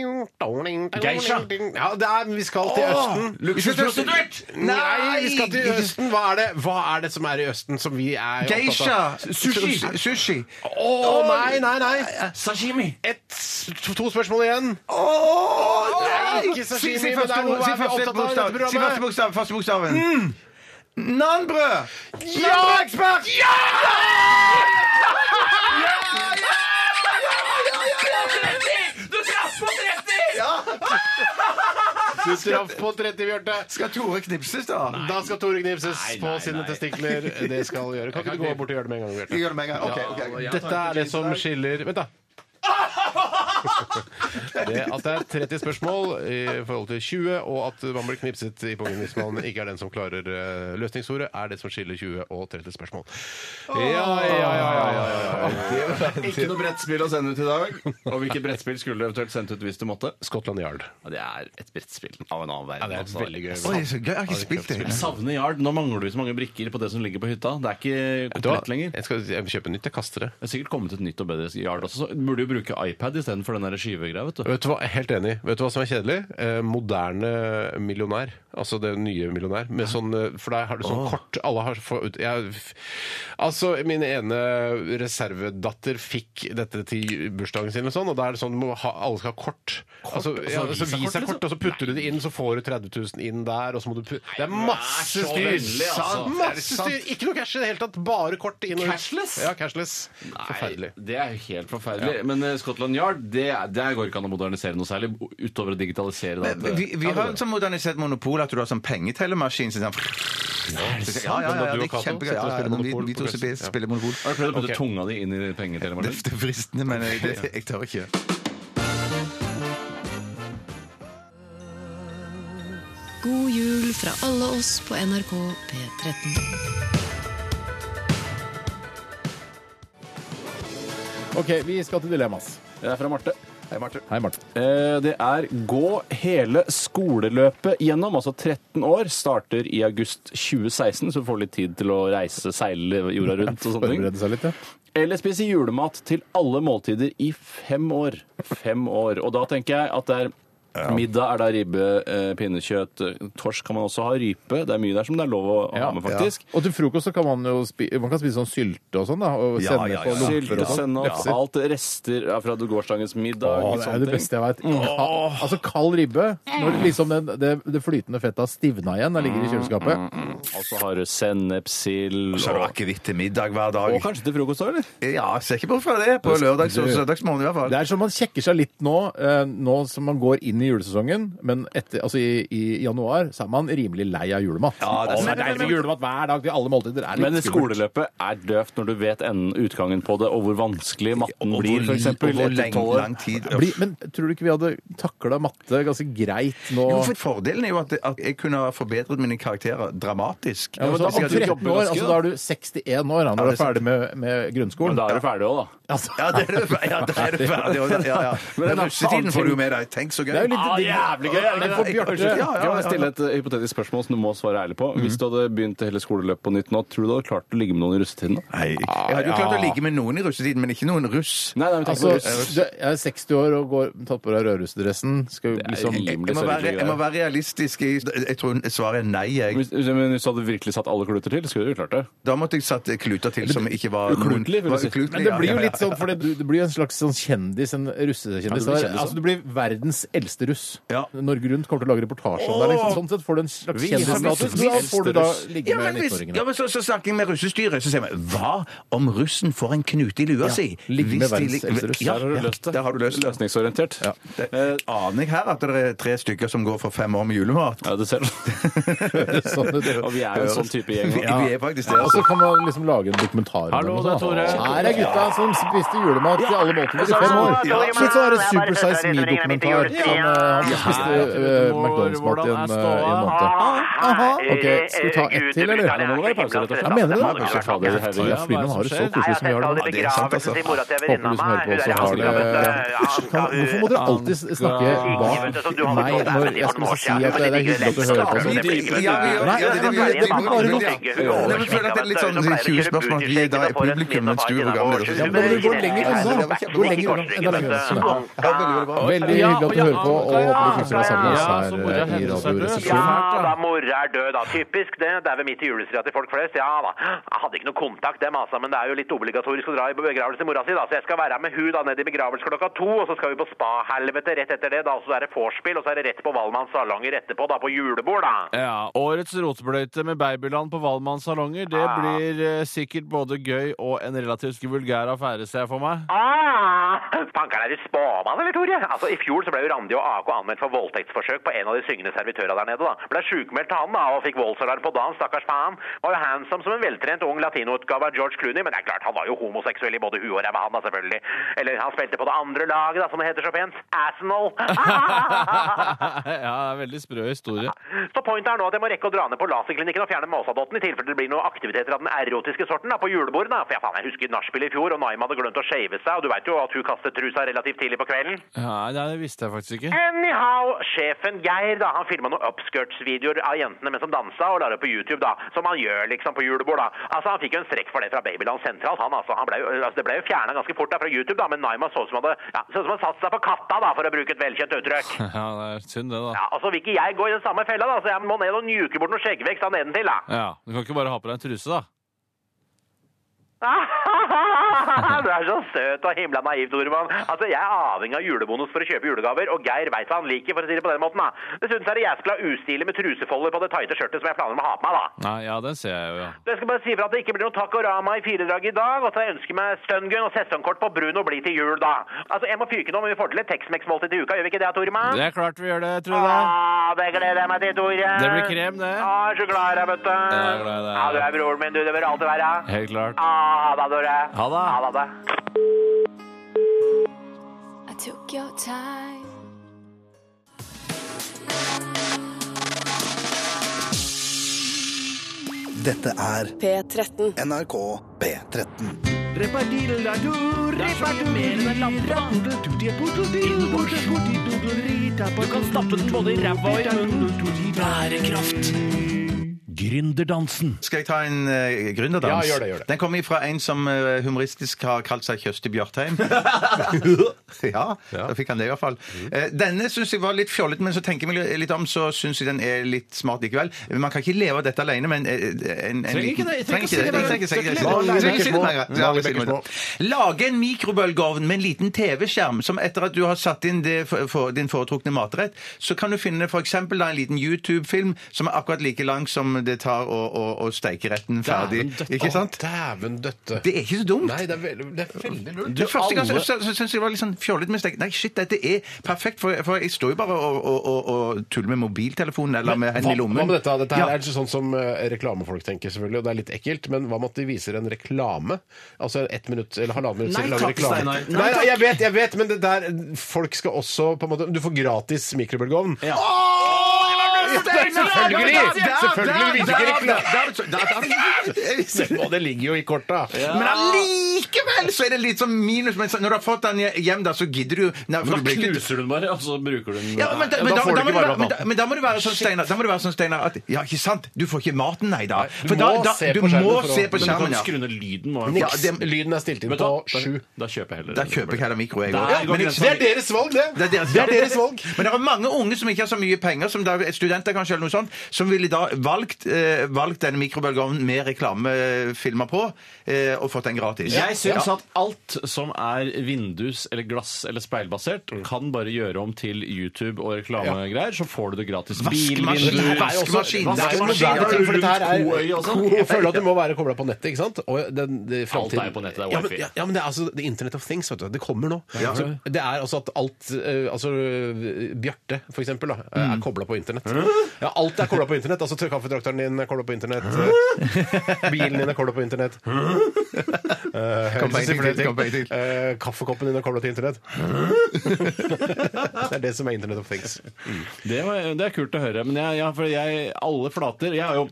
S3: Geisha. Ja, det er, vi skal til Østen.
S11: Luksusprostituert!
S3: Nei, vi skal til Østen. Hva er det, hva er det som er i Østen, som vi er opptatt
S11: Geisha!
S3: av?
S11: Sushi! Sushi.
S3: Å, nei, nei, nei.
S8: Sashimi!
S3: Et, to spørsmål igjen.
S11: Å, nei!
S3: Ikke
S11: Si-
S3: sashimi,
S11: Si
S3: men det
S11: første
S3: er noe
S11: ord- si
S3: vi er
S11: første
S3: opptatt av i
S11: bokstav.
S3: dette
S11: Si
S3: programmet.
S11: første
S3: Mm.
S11: bokstav. Første bokstaven. Nanbrød!
S3: Ja!
S11: Nanbrødekspert!
S3: Ja!
S8: Du traff på 30!
S3: Du traff på 30, Bjarte.
S11: Skal Tore knipses, da?
S3: Da skal Tore knipses
S8: Nei,
S3: på
S8: nei,
S3: sine
S8: nei.
S3: testikler. Det skal gjøre. Kan ikke du gå bort og gjøre det med en gang, Bjarte?
S11: Gjør det med en gang. Ok, ok.
S3: Dette er det som skiller Vent, da. Det at det er 30 spørsmål i forhold til 20, og at man blir knipset i pungen hvis man ikke er den som klarer eh, løsningsordet, er det som skiller 20 og 30 spørsmål. Ja, ja, ja, ja, ja, ja, ja.
S8: Ikke noe brettspill å sende ut i dag. Og hvilket brettspill skulle du eventuelt sendt ut hvis du måtte?
S3: Scotland Yard.
S8: Ja, det er et brettspill av en annen verden.
S3: Ja, det er
S8: altså.
S3: veldig gøy.
S11: Oi, så gøy. Jeg har ikke spilt det.
S8: Jeg savner Yard. Nå mangler du så mange brikker på det som ligger på hytta. Det er ikke
S3: Vet du hva?
S8: komplett lenger.
S3: Jeg skal jeg vil kjøpe nytt. Jeg kaster det.
S8: Det er sikkert kommet et nytt og bedre Yard også. Så burde jo bruke iPad istedenfor
S17: for den der skyvegreia, vet du.
S18: Vet du hva, jeg er Helt enig. Vet du hva som er kjedelig? Eh, moderne millionær. Altså det nye millionær. Med sånn, eh, for der har du sånn kort Alle har få- ut- jeg, f- Altså, min ene reservedatter fikk dette til bursdagen sin, og sånn, og da er det sånn du må ha, alle skal ha kort. altså,
S19: altså
S18: ja, altså,
S19: visakort,
S18: visakort,
S19: liksom?
S18: og så putter du det inn, så får du 30 000 inn der, og så må du putte Det er masse
S19: så
S18: styr!
S19: vennlig, altså. Er det
S18: Masse
S19: sant?
S18: styr! Ikke noe cash i det hele tatt. Bare kort inn og ut.
S17: Cashless?
S18: Ja, cashless.
S17: Nei, det er jo helt forferdelig. Men eh, Scotland Yard det, er- der går ikke an å modernisere noe særlig utover å digitalisere. det.
S11: Men Vi, vi har sånn modernisert monopol at du har sånn pengetellemaskin som sånn
S17: Er det sant?
S11: Ja, ja, ja,
S17: Men da du
S11: ja, det
S17: og
S11: er
S17: Cato
S11: kjempegøy.
S17: sitter og
S11: Ja,
S17: spiller
S11: ja, vi,
S17: Monopol
S11: vi
S17: på
S11: to spiller,
S17: kvelden. Ja.
S11: spiller monopol.
S17: Har du prøvd å putte
S11: Ok.
S17: tunga di inn i pengetelemaskinen?
S11: Det det er fristende, men jeg, det, jeg tør ikke.
S15: God jul fra alle oss på NRK P13.
S3: OK, vi skal til dilemmas.
S8: Det er fra Marte.
S3: Hei, Marte. Hei, Marte.
S8: Eh, Det er gå hele skoleløpet gjennom, altså 13 år. Starter i august 2016, så du får litt tid til å reise, seile jorda rundt og sånne ting.
S3: Forberede seg litt, ja.
S8: Eller spise julemat til alle måltider i fem år. Fem år. Og da tenker jeg at det er Middag er da ribbe, eh, pinnekjøtt, eh, torsk kan man også ha, rype. Det er mye der som det er lov å ha med, faktisk.
S3: Ja. Og til frokost så kan man jo spi man kan spise sånn sylte og sånn, da. Og
S8: Ja,
S3: sende
S8: ja,
S3: på
S8: ja.
S3: lomper
S8: Sylte,
S3: og sånn.
S8: sennep,
S3: Lefser.
S8: alt rester fra gårsdagens middag.
S3: Å, det
S8: sånne
S3: er det
S8: ting.
S3: beste jeg vet. Ka- Altså kald ribbe, når liksom den, det, det flytende fettet har stivna igjen, det
S8: Mm,
S3: ligger i kjøleskapet.
S8: Og så har du sennepsild.
S11: Og så har du akevitt til middag hver dag.
S8: Og kanskje til frokost òg, eller?
S11: Ja, ser ikke bort fra det. På lørdags og søndagsmorgen i hvert fall.
S3: Det er som man sjekker seg litt nå, eh, nå som man går inn i julesesongen, men etter, altså i, i januar så er man rimelig lei av julemat.
S8: Ja, det er
S3: Å,
S8: sant.
S3: deilig med julemat hver dag til alle måltider. er litt
S8: Men
S3: skummelt.
S8: skoleløpet er døvt når du vet enden, utgangen på det, og hvor vanskelig matten
S3: Og hvor
S8: blir, f.eks.
S3: og hvor lenge- lang
S11: tid.
S3: Bli, men tror du ikke vi hadde takla matte ganske greit nå?
S11: Jo, for Fordelen er jo at, at jeg kunne ha forbedret mine karakterer dramatisk. Sånn
S3: Ja, men da, om 13 år, altså, da er du 61 år da,
S11: Ja,
S3: når du
S11: det
S3: er
S11: er
S3: ferdig med, med grunnskolen.
S11: Men da er du
S8: ferdig òg, da.
S11: Ja, det er du, fe- ja, da er du ferdig. også. Ja, ja.
S8: Men
S11: Men
S8: den er
S11: russetiden får du jo med deg. Tenk så gøy.
S8: Det er jo litt
S11: Ah,
S8: jævlig gøy! er det ikke det?
S11: Ja, ja,
S8: Unnskyld,
S11: ja, ja,
S8: Kan jeg
S11: ja.
S8: stille et eh, hypotetisk spørsmål som du må svare ærlig
S3: Mm.
S8: på? Hvis du hadde begynt hele skoleløpet på nytt nå, tror du du hadde klart å ligge med noen i russetiden?
S11: Nei, Jeg hadde jo klart å ligge med noen i russetiden, men ikke noen russ.
S8: Nei, nei, men tenk
S3: Altså,
S8: på russ.
S3: du er 60 år og går, tatt på deg rødrussdressen. Skal jo liksom
S11: Jeg må, være, jeg må være realistisk. i- Jeg tror svaret er nei. Jeg.
S8: Hvis, men hvis du hadde virkelig satt alle kluter til, skulle du jo klart det.
S11: Da måtte jeg satt kluter til som ikke var
S8: Uklutelig, vil
S11: var
S8: jeg si.
S11: uklutelig,
S3: Men det
S11: ja.
S3: blir jo litt sånn, for det, du, det blir jo en slags sånn kjendis, en russekjendis.
S11: Ja, du blir kjendis,
S3: altså, du blir verdens eldste russ. Norge Rundt kommer til å lage reportasje om deg. Liksom. Sånn sett får du en slags
S11: Vi-
S3: kjendisstatus. men Da får du da ligge
S11: ja, men
S3: med
S11: hvis- Ja,
S3: 19-åringene.
S11: men så, så snakker jeg med russestyret, så sier vi hva om russen får en knute i lua
S8: Ja,
S11: si?
S8: ligge med
S11: Hvis de
S8: verdens
S11: ligger-
S8: eldste russ.
S11: Ja,
S8: Der har du
S11: ja,
S8: løst det.
S11: Der har du løst det.
S8: Løsningsorientert.
S11: Det aner jeg her at det er tre stykker som går for fem år med julemat.
S8: Ja, det ser du. Og vi er jo en sånn type gjeng.
S11: Vi, vi er faktisk det.
S3: Og så
S11: Altså.
S3: kan man liksom lage en dokumentar. om
S8: Hallo,
S3: dem og
S8: det er
S3: sånn, da.
S8: Tore.
S3: Her er gutta som spiste julemat til alle måltider i fem år.
S8: Ja.
S3: Litt sånn her Super Size Me-dokumentar. Som eh, han spiste eh, McDonald's-mat i en, eh, i en måned. OK, skal vi ta ett til, eller?
S8: Ja, Eh, det må være pause, rett og slett.
S3: Ja, mener du det?
S8: Ja, det er klart.
S3: Ja, fy, ja, fordi man har det så koselig som vi har det.
S8: Ja, det er sant,
S3: Håper
S8: altså.
S3: du som hører på også har det Kan- Hvorfor må dere alltid snakke bak meg når jeg skal si at det er hyggelig at du hører på?
S11: Ja, vi gjør- ja, det-
S3: Nei,
S11: det- det-
S3: nei,
S11: det-
S3: det blir bare noe.
S11: Ja, men jeg føler at det er litt sånn 20 spørsmål at vi er da i publikum, mens du er programleder.
S3: Ja, men du går lenger unna. Gå lenger unna. Enda lenger unna. Sånn. Veldig hyggelig at du hører på, og håper du koser deg sammen med oss her eh, i Radioresepsjonen.
S12: Ja da, mora er død da. Typisk det. Det er ved midt i julestria til folk flest. Ja da. Jeg hadde ikke noe kontakt, dem altså, men det er jo litt obligatorisk å dra i begravelse til mora si, da. Så jeg skal være med hun da ned i begravelse klokka to, og så skal vi på spahelvete rett etter det, da. Så er det vorspiel, og så er det rett på Valmanns salonger etterpå, da, på julebord, da.
S17: Ja, Årets rotbløyte med babyland på Valmanns salonger. Det
S8: Ah.
S17: blir eh, sikkert både gøy og en relativt vulgær affære, ser jeg for meg.
S12: Ah, Fanker er du spåmann, eller, Tore? Altså, I fjor så ble jo Randi og AK anmeldt for voldtektsforsøk på en av de syngende servitørene der nede. da. Ble sjukmeldt han da, og fikk voldsalarm på dagen, stakkars faen. Var jo handsome som en veltrent ung latinoutgave av George Clooney, men det er klart, han var jo homoseksuell i både huet og ræva, han da, selvfølgelig. Eller han spilte på det andre laget, da, som det heter så pent. Arsenal.
S17: ja, det er veldig sprø historie.
S12: Så pointet er nå at jeg må rekke å dra ned på laserklinikken og fjerne Måsadotten i tilfelle det blir noen aktiviteter av den erotiske sorten da, på julebordet. da. For jeg, faen, jeg husker nachspielet i fjor, og Naima hadde glemt å shave seg, og du vet jo at hun kastet trusa relativt tidlig på kvelden.
S17: Nei, det visste jeg faktisk ikke.
S12: Anyhow, sjefen Geir da, han filma noen upskirts-videoer av jentene mens han dansa, og la det på YouTube, da, som han gjør liksom på julebord. da. Altså, Han fikk jo en strekk for det fra Babyland sentralt. han, altså. Han ble, jo- altså det ble jo fjerna ganske fort da fra YouTube, da, men Naima så ut som han hadde ja, så ut som han satt seg på katta, da, for å bruke et velkjent uttrykk.
S20: Ja, det er synd det, da.
S12: Ja, Og så vil ikke jeg gå i den samme fella, da, så jeg må ned og njuke bort noe skjeggvekst da nedentil, da.
S20: Ja, Du kan ikke bare ha på deg en truse, da.
S12: du er så søt og himla naiv, Toremann. Altså, jeg er avhengig av julebonus for å kjøpe julegaver, og Geir veit hva han liker, for å si det på den måten, da. Dessuten så er det jeg skulle ha ustilig med trusefolder på det tighte skjørtet som jeg planer om å ha på meg, da.
S20: Nei, ja, den ser jeg jo, ja.
S12: Jeg skal bare si fra at det ikke blir noe Takorama i firedrag i dag, og at jeg ønsker meg stungun og sesongkort på Bruno blir til jul, da. Altså, jeg må fyke nå, men vi får til et Tex-Mex-måltid til uka, gjør vi ikke det, Toremann?
S20: Det er klart vi gjør det, tror jeg.
S12: Ah, det gleder jeg meg til, Tore.
S20: Det blir krem, det.
S12: Ah, jeg er så glad i deg, vet du.
S20: jeg er glad i deg.
S12: Ja, du er broren min, du. Det bør du alltid være.
S20: Helt klart.
S12: Ah, ha det, Tore.
S20: Ha det.
S12: Ha det.
S15: I took your time.
S21: Dette er
S15: P13.
S21: NRK P13.
S22: Du kan stappe den både i ræva og i munnen. Bærekraft.
S11: Gründerdansen. Skal jeg ta en eh, gründerdans?
S3: Ja, gjør det, gjør det.
S11: Den kommer fra en som eh, humoristisk har kalt seg Kjøsti Bjørtheim. ja, da fikk han det i hvert fall. Eh, denne syns jeg var litt fjollete, men så tenker jeg meg litt om, så syns jeg den er litt smart likevel. Man kan ikke leve av dette alene, men eh, en, en
S3: Trenger ikke det, jeg trenger ikke å si det,
S11: Trenger ikke å si det.
S3: jeg
S11: Trenger
S3: trenger ikke å si det.
S11: ikke å si det.
S3: Mange bekker små.
S11: Ja,
S3: Mange
S11: jeg
S3: bekker
S11: sier det. Lage en mikrobølgeovn med en liten TV-skjerm, som etter at du har satt inn det for, for din foretrukne matrett, så kan du finne f.eks. en liten YouTube-film som er akkurat like lang som det tar å, å, å steike retten ferdig. Ikke sant?
S3: Dæven døtte.
S11: Det er ikke så dumt.
S3: Nei, det er veldig, det er veldig lurt.
S11: Du, første gang så, så, så syntes jeg det var litt sånn fjollete med steik. Nei, shit, dette er perfekt, for, for jeg står jo bare og, og, og, og tuller med mobiltelefonen eller med
S3: hva,
S11: hendene i lommen.
S3: hva med dette? Dette her
S11: Ja.
S3: er ikke sånn som eh, reklamefolk tenker, selvfølgelig, og det er litt ekkelt, men hva med at de viser en reklame? Altså en ett minutt eller halvannet minutt
S11: Nei
S3: lang
S11: takk,
S3: reklame.
S11: Steinar.
S3: Nei,
S11: Nei
S3: nei,
S11: takk.
S3: jeg vet, jeg vet, men det der Folk skal også på en måte Du får gratis mikrobølgeovn. Ja. Selvfølgelig! Selvfølgelig vil ikke reklame! Det må- Det ligger jo i korta.
S11: Men allikevel så er det litt sånn minus. Men så- når du har fått den hjem, da, så gidder du jo- Nei, for
S8: Da
S11: du blir ikke-
S8: knuser du den bare, og så bruker du den
S11: Ja, men da, men
S8: Ja,
S11: da,
S8: får
S11: da, må
S8: du ikke
S11: du
S8: varme
S11: være- men,
S8: maten.
S11: da, men da må du være sånn, Steinar, da må du være sånn, Steinar at Ja, ikke sant? Du får ikke maten, nei da. For
S3: du
S11: da,
S3: må
S11: da,
S3: se
S11: du
S3: på skjermen
S11: må
S3: for å-
S11: se på
S3: Men du kan
S11: skjermen. ja.
S8: Skru ned lyden. må jeg-
S11: Ja,
S3: Niks.
S11: det-
S3: Lyden er stilt inn
S8: Vet du
S3: på
S8: hva? Da-
S3: sju.
S8: Da kjøper jeg heller
S11: Da kjøper jeg heller mikro, jeg
S8: Der
S11: også.
S8: går
S11: men-
S8: grensen.
S3: Det er deres valg, det!
S11: Det er deres,
S3: Det er deres valg.
S11: Men det er mange unge som ikke har så mye penger, som da, studenter kanskje, eller noe sånt, som ville da valgt, eh, valgt denne mikrobølgeovnen med reklamefilmer på, eh, og fått den gratis.
S8: Jeg syns
S11: Ja.
S8: at alt som er vindus- eller glass- eller speilbasert, kan bare gjøre om til YouTube og reklamegreier, så får du det gratis.
S11: Vaskemaskin.
S8: Bilvinduer
S11: Det er jo også- Vaskemaskin.
S3: Det er jo
S11: Vaskemaskin.
S3: moderne ting, for dette her er
S8: Koøy og sånn.
S3: Ko- Jeg føler at du må være kobla på nettet, ikke sant? Og den, det, fremtiden-
S8: er jo på nettet, det er
S3: Ja, men,
S8: wifi.
S3: ja, ja, men det er altså det er Internet of Things, vet du. Det kommer nå.
S11: Ja.
S3: Så det er altså at alt eh, Altså eh, Bjarte, for eksempel, da, er kobla på internett. Ja, alt er kobla på internett. Altså tr- kaffetrakteren din er kobla på internett. eh, Bilen din er kobla på internett. Eh,
S11: Kom på en ting til, kom på en ting.
S3: Eh, Kaffekoppen din er kobla til internett. Det er det som er Internet of Things.
S8: Det, var, det er kult å høre. Men jeg, ja, for jeg, alle flater Jeg har jo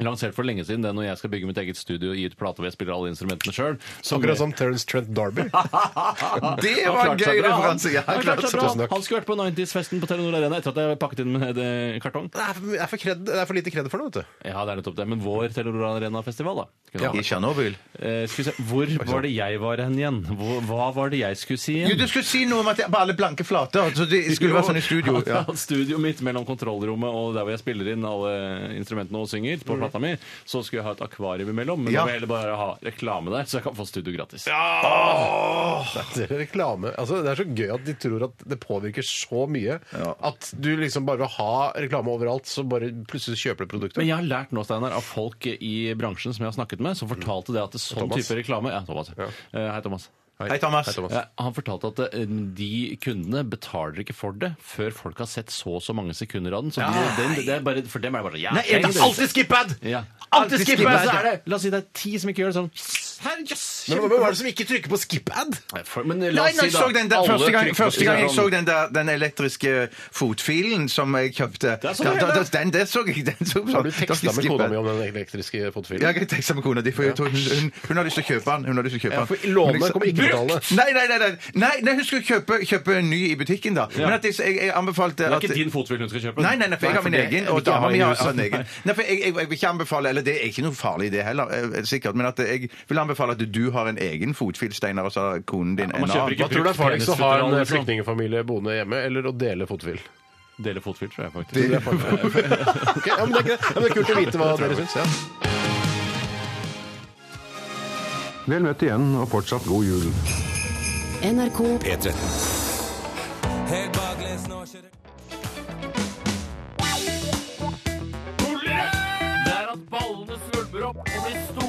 S8: lansert for lenge siden det når jeg skal bygge mitt eget studio og gi ut plate hvor jeg spiller alle instrumentene sjøl.
S3: Akkurat som Terence Trent Darby.
S11: Det var en gøy referanse. Ja,
S8: Han,
S11: klart
S8: klarte
S11: så.
S8: seg bra.
S3: Tusen takk.
S8: han skulle vært på 90s-festen på Telenor Arena etter at jeg pakket inn med eh, kartong.
S3: Det er for, det er for, kred, det er for lite kred for det, vet du.
S8: Ja, det er nettopp det. Men vår Telenor Arena-festival, da. Kunne
S11: I
S8: vært.
S11: Tsjernobyl.
S8: Eh, skal vi se, Hvor var det jeg var hen igjen? Hvor, hva var det jeg skulle si
S11: Jo,
S8: igjen?
S11: du skulle si noe om at det var alle blanke flater. Så det skulle være sånn i studio. Ja.
S8: At Studioet mitt mellom kontrollrommet og der hvor jeg spiller inn alle instrumentene og synger, på plata mi, så skulle jeg ha et akvarium imellom. Men
S11: Mm. Ja.
S8: nå vil jeg heller bare ha reklame der, så jeg kan få studio gratis.
S3: Det er reklame. Altså, det er så gøy at de tror at det påvirker så mye at du liksom bare vil ha reklame overalt, så bare plutselig kjøper du produktet.
S8: Men jeg har lært nå, Steinar, av folk i bransjen som jeg har snakket med, som fortalte det at det sånn
S3: Thomas.
S8: type reklame Ja, Thomas. Eh, Hei, Thomas.
S11: Hei, Thomas.
S8: Ja, han fortalte at eh, de kundene betaler ikke for det før folk har sett så og så mange sekunder av den. Så de, den, det er bare, for dem er det bare sånn, ja,
S11: Nei, er det
S8: tenk det.
S11: alltid skip-ad?
S8: Ja.
S11: Alltid skip-ad!
S8: Så er det, la oss si det er ti som ikke gjør det sånn. Yes, Her, yes!
S23: Men hvem er det som ikke trykker på skip-ad?
S24: Men
S11: Nei, nei, jeg så den der, første, gang, første gang jeg så den der den elektriske fotfilen som jeg kjøpte
S3: Der så du
S11: da, da,
S3: henne.
S11: da, Den der så jeg. Den så, sånn.
S3: Har du teksta med kona mi om den elektriske
S11: Ja,
S3: fotfilen?
S11: jeg teksta med kona di, for jeg tror hun, hun, hun har lyst til å kjøpe den. Hun har lyst til å kjøpe
S3: Ja,
S11: den.
S3: for låne
S11: Men jeg sa-
S3: kommer ikke betale.
S11: Brukt! Nei, nei, nei, nei, nei, nei hun skulle kjøpe, kjøpe en ny i butikken, da.
S24: Ja.
S11: Men at jeg, jeg, jeg anbefalte
S24: Det er
S11: at
S24: ikke din fotfil hun skal kjøpe?
S11: Nei, nei, nei, for jeg har min
S24: det-
S11: egen,
S24: vi
S11: og
S24: ikke
S11: dama
S24: har i
S11: mi har
S24: huset.
S11: en egen. Nei, for jeg, jeg, jeg vil ikke anbefale, eller det er ikke noe farlig det heller, eh, sikkert, men at jeg vil anbefale at du har en egen fotfil, Steinar, og så har konen din en annen.
S3: Hva tror du er farligst å ha en flyktningfamilie boende hjemme, eller å dele fotfil?
S24: Dele fotfil, tror jeg faktisk.
S3: Det er farlig. Ok, ja, men det er greit. Ja, men det er kult å vite hva dere syns. Ja.
S25: Vel møtt igjen, og fortsatt god jul.
S15: NRK
S1: P13.
S22: Det er at ballene svulmer opp og blir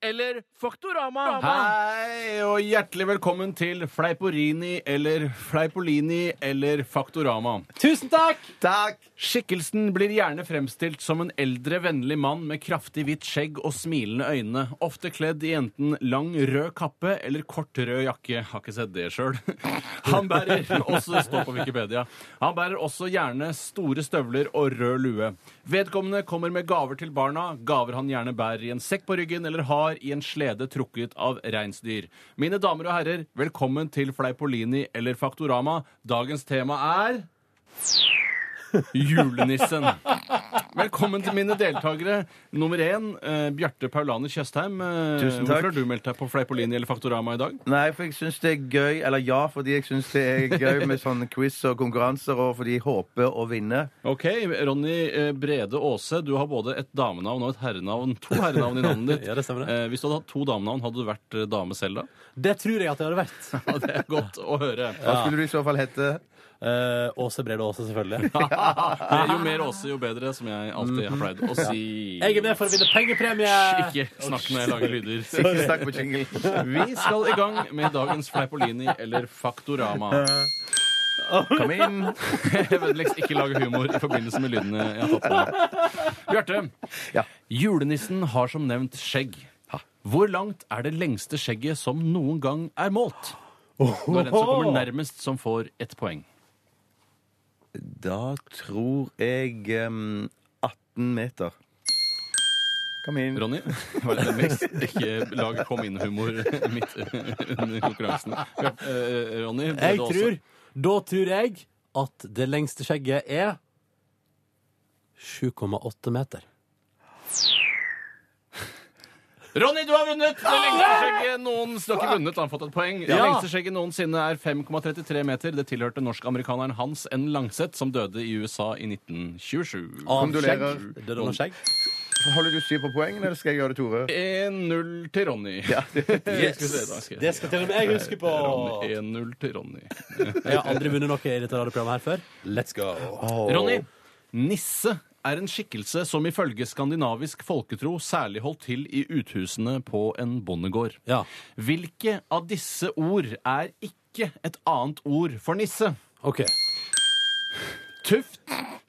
S22: eller Faktorama?
S8: Hei og hjertelig velkommen til Fleiporini eller Fleipolini eller Faktorama. Tusen takk! Skikkelsen blir gjerne fremstilt som en eldre, vennlig mann med kraftig hvitt skjegg og smilende øyne, ofte kledd i enten lang, rød kappe eller kort, rød jakke. Har ikke sett det sjøl. Han bærer også det står på Wikipedia. Han bærer også gjerne store støvler og rød lue. Vedkommende kommer med gaver til barna, gaver han gjerne bærer i en sekk på ryggen eller har i en slede trukket av reinsdyr. Mine damer og herrer, velkommen til Fleipolini eller Faktorama. Dagens tema er Julenissen. Velkommen til mine deltakere. Nummer én, eh, Bjarte Paulane Tjøstheim. Eh,
S11: Tusen takk.
S8: Hvorfor har du meldt deg på Fleipolini eller Faktorama i dag?
S11: Nei, for jeg syns det er gøy. Eller ja, fordi jeg syns det er gøy med sånne quiz og konkurranser, og fordi jeg håper å vinne.
S8: Ok, Ronny eh, Brede Aase, du har både et damenavn og et herrenavn. To herrenavn i navnet ditt.
S26: Ja, det stemmer
S8: Eh, Hvis du hadde hatt to damenavn, hadde du vært eh, dame selv da?
S26: Det tror jeg at jeg hadde vært.
S8: Ja, det er godt å høre.
S26: Hva skulle
S11: du i så fall hete?
S26: Åse Brede Aase, selvfølgelig.
S8: Det er jo mer Åse, jo bedre, som jeg alltid har pleid å si.
S26: Jeg er med for å vinne pengepremie!
S8: Ikke snakk når jeg lager lyder.
S26: Ikke snakk på jingle.
S8: Vi skal i gang med dagens Fleipolini eller Faktorama.
S11: Kom inn.
S8: Vennligst ikke lage humor i forbindelse med lydene jeg har tatt på meg. Bjarte, julenissen har som nevnt skjegg. Hvor langt er det lengste skjegget som noen gang er målt? Nå er den som kommer nærmest, som får ett poeng.
S11: Da tror jeg em, 18 meter. Kom inn.
S8: Ronny, vær vennligst ikke lag kom inn-humor midt under konkurransen. Bjarte, eh, Ronny, ble
S26: Jeg
S8: det også-
S26: tror, da tror jeg at det lengste skjegget er 7,8 meter.
S8: Ronny, du har vunnet! Det
S11: Ah!
S8: lengste skjegget noen Du har ikke vunnet, han har fått et poeng. Det
S26: Ja.
S8: lengste skjegget noensinne er 5,33 meter. Det tilhørte norsk-amerikaneren Hans N. Langseth, som døde i USA i 1927.
S11: Av Kondolerer. skjegg?
S8: Det er noe skjegg.
S11: Holder du styr på poengene, eller skal jeg gjøre det, Tore?
S8: 1-0 til Ronny.
S26: Yes. Det skal til og med jeg huske på.
S8: Ronny, 1-0 til Ronny.
S26: Jeg har aldri vunnet noe i dette radioprogrammet her før. Let's go!
S8: Ronny, nisse er en skikkelse som ifølge skandinavisk folketro særlig holdt til i uthusene på en bondegård. Hvilke av disse ord er ikke et annet ord for nisse?
S26: Ok.
S8: Tuft,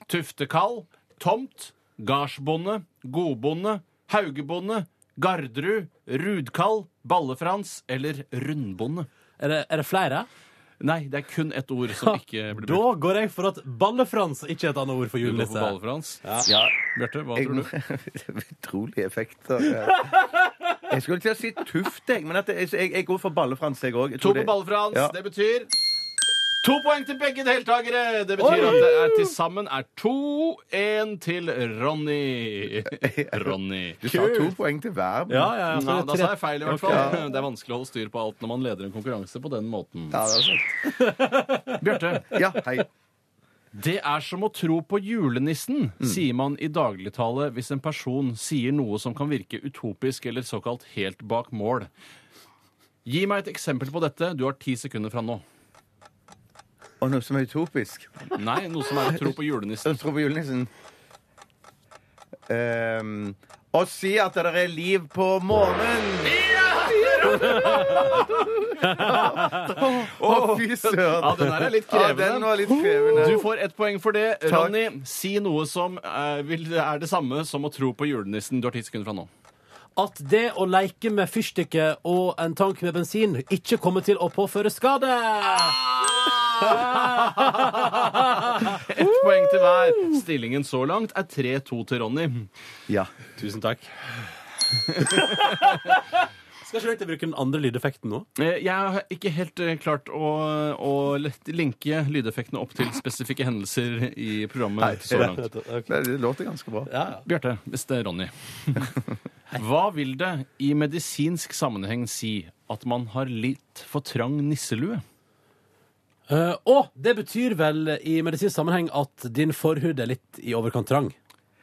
S8: tuftekall, tomt, gardsbonde, godbonde, haugebonde, garderud, rudkall, ballefrans eller rundbonde.
S26: Er det, flere?
S8: Nei, det er kun ett ord som ikke blir brukt.
S26: Da går jeg for at ballefrans ikke er et annet ord for
S8: Du går
S26: julenisse.
S8: for ballefrans?
S26: Ja.
S8: Bjarte, hva
S11: Jeg-
S8: tror du?
S11: Utrolige effekter. Jeg skulle til å si tuft, jeg, men at jeg, jeg, jeg går for ballefrans, jeg òg.
S8: To på ballefrans.
S11: Ja.
S8: Det betyr to poeng til begge deltakere. Det betyr
S11: Oi!
S8: at det er til sammen er 2-1 til Ronny. Ronny.
S11: Du sa to poeng til hver. men-
S8: Nei, da sa jeg feil, i hvert fall.
S11: Ja.
S8: Det er vanskelig å holde styr på alt når man leder en konkurranse på den måten.
S11: Ja, det er
S8: Bjarte.
S11: Ja, hei.
S8: Det er som å tro på julenissen, sier man i dagligtale hvis en person sier noe som kan virke utopisk eller såkalt helt bak mål. Gi meg et eksempel på dette. Du har ti sekunder fra nå.
S11: Og noe som er utopisk.
S8: Nei, noe som er å tro på julenissen.
S11: Tro på julenissen. Ehm, å si at det er liv på månen!
S5: Å, fy søren.
S8: Ja, den her er litt krevende.
S5: Ja, den var litt krevende.
S8: Du får ett poeng for det.
S5: Takk.
S8: Ronny, si noe som eh, vil, er det samme som å tro på julenissen. Du har ti sekunder fra nå.
S22: At det å leke med fyrstikker og en tank med bensin ikke kommer til å påføre skade.
S8: Ett poeng til hver. Stillingen så langt er 3-2 til Ronny.
S11: Ja.
S8: Tusen takk.
S22: Skal ikke dere bruke den andre lydeffekten nå?
S8: Eh, Jeg har ikke helt eh, klart å, å lett- linke lydeffektene opp til spesifikke hendelser i programmet så langt.
S5: Nei, det låter ganske bra.
S8: Bjarte, hvis det er Ronny. Hva vil det i medisinsk sammenheng si at man har litt for trang nisselue?
S22: Eh, og det betyr vel i medisinsk sammenheng at din forhud er litt i overkant trang.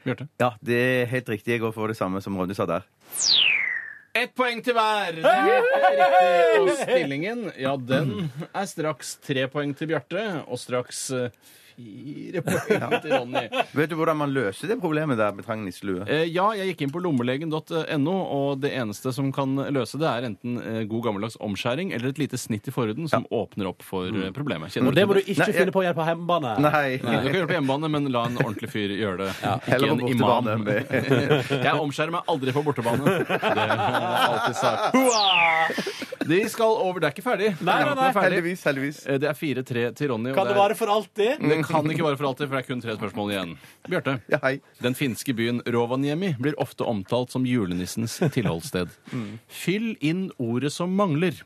S11: Ja, det er helt riktig. Jeg går for det samme som Ronny sa der.
S8: Ett poeng til hver. Det er riktig. Og stillingen, ja, den er straks tre poeng til Bjarte, og straks eh, fire poeng til Ronny.
S11: Vet du hvordan man løser det problemet der med trang nisselue?
S8: Eh, Ja, jeg gikk inn på lommelegen.no, og det eneste som kan løse det, er enten eh, god gammeldags omskjæring eller et lite snitt i forhuden som åpner opp for eh, problemet. Kjenner
S22: Og Mm. det
S8: til
S22: må du ikke finne på å gjøre på hjemmebane.
S8: Nei, Du kan gjøre det på hjemmebane, men la en ordentlig fyr gjøre det.
S22: Heller
S8: Ikke en
S22: på
S8: imam.
S22: bortebane.
S8: Jeg omskjærer meg aldri på bortebane. Det har jeg alltid sagt. De skal over. Det er ikke ferdig.
S5: Nei, nei, nei.
S8: Heldigvis,
S5: heldigvis.
S8: Det er 4-3 til Ronny. og
S22: Kan det
S8: er-
S22: vare for alltid?
S8: Det kan ikke vare for alltid, for det er kun tre spørsmål igjen. Bjarte. Den finske byen Rovaniemi blir ofte omtalt som julenissens tilholdssted. Fyll inn ordet som mangler.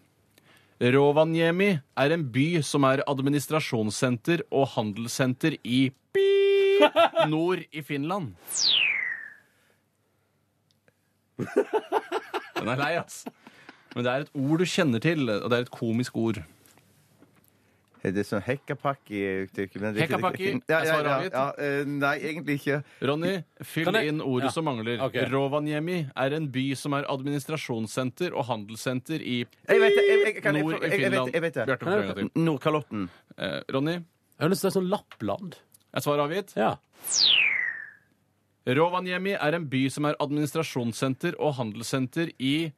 S8: Rovaniemi er en by som er administrasjonssenter og handelssenter i pip, nord i Finland. Den er lei, ass. Men det er et ord du kjenner til, og det er et komisk ord.
S11: Er det sånn hekkapakki?
S8: Hekkapakki?
S11: Ja,
S8: Er
S11: ja,
S8: svaret
S11: ja,
S8: avgitt?
S11: ja, eh, nei, egentlig ikke.
S8: Ronny, fyll
S11: Kan jeg-
S8: inn ordet
S11: Ja.
S8: som mangler.
S11: Ok.
S8: Rovaniemi er en by som er administrasjonssenter og handelssenter
S11: Jeg
S8: i
S11: vet det, jeg- jeg- kan jeg få-
S8: nord i
S11: jeg- jeg vet-
S8: Finland.
S11: jeg vet det.
S8: Bjarte,
S11: Kan jeg
S8: prøv en gang
S11: til. Nordkalotten.
S8: Eh, Ronny?
S22: Jeg har lyst til å si sånn Lappland.
S8: Er svaret avgitt?
S22: Ja.
S8: Rovaniemi er en by som er administrasjonssenter og handelssenter i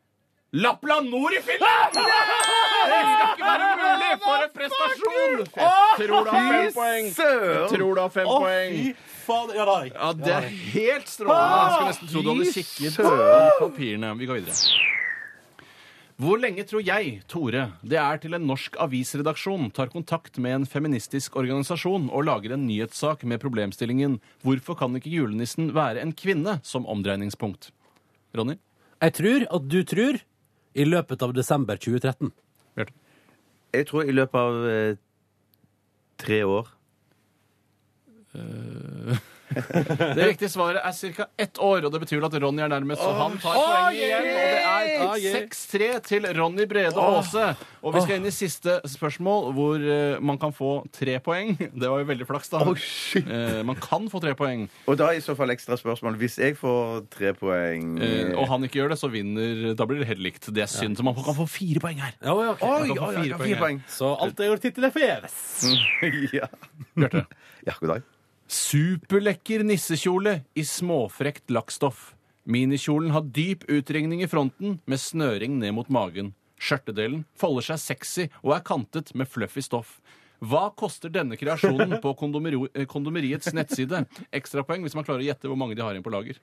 S8: Lappland nord i Finland! Det skal ikke være mulig! For en prestasjon! Jeg tror du har fem poeng. Jeg tror du har fem poeng.
S22: Fader, ja, da har jeg. Ah,
S8: Ja, det er helt strålende. Jeg skulle nesten tro du hadde kikket på papirene. Vi går videre. Hvor lenge tror jeg, Tore, det er til en norsk avisredaksjon tar kontakt med en feministisk organisasjon og lager en nyhetssak med problemstillingen 'Hvorfor kan ikke julenissen være en kvinne?' som omdreiningspunkt? Ronny?
S22: Jeg tror at du tror i løpet av desember 2013.
S11: Jeg tror i løpet av eh, tre år.
S8: Det riktige svaret er ca. ett år, og det betyr vel at Ronny er nærmest, så han tar
S7: Åh,
S8: poenget
S7: yeah!
S8: igjen. Og
S7: Ah,
S8: det
S7: yeah.
S8: er 6-3 til Ronny Brede
S7: Åh.
S8: Aase. Og vi skal inn i siste spørsmål, hvor eh, man kan få tre poeng. Det var jo veldig flaks, da. Eh, man kan få tre poeng.
S11: Oh, Og da er i så fall ekstra spørsmål. Hvis jeg får tre poeng
S8: Eh, og han ikke gjør det, så vinner Da blir det helt likt. Det er synd. Så man kan få fire poeng her.
S11: Oi,
S8: Man kan få
S11: oi, oi,
S8: fire
S11: fire
S8: poeng.
S11: poeng.
S22: Så alt jeg har gjort hittil, er forgjeves.
S11: ja.
S8: Bjarte.
S11: ja, god dag.
S8: Superlekker nissekjole i småfrekt lakkstoff. Minikjolen har dyp utringning i fronten med snøring ned mot magen. Skjørtedelen folder seg sexy og er kantet med fluffy stoff. Hva koster denne kreasjonen på kondomeri eh, kondomeriets nettside? Ekstrapoeng hvis man klarer å gjette hvor mange de har igjen på lager.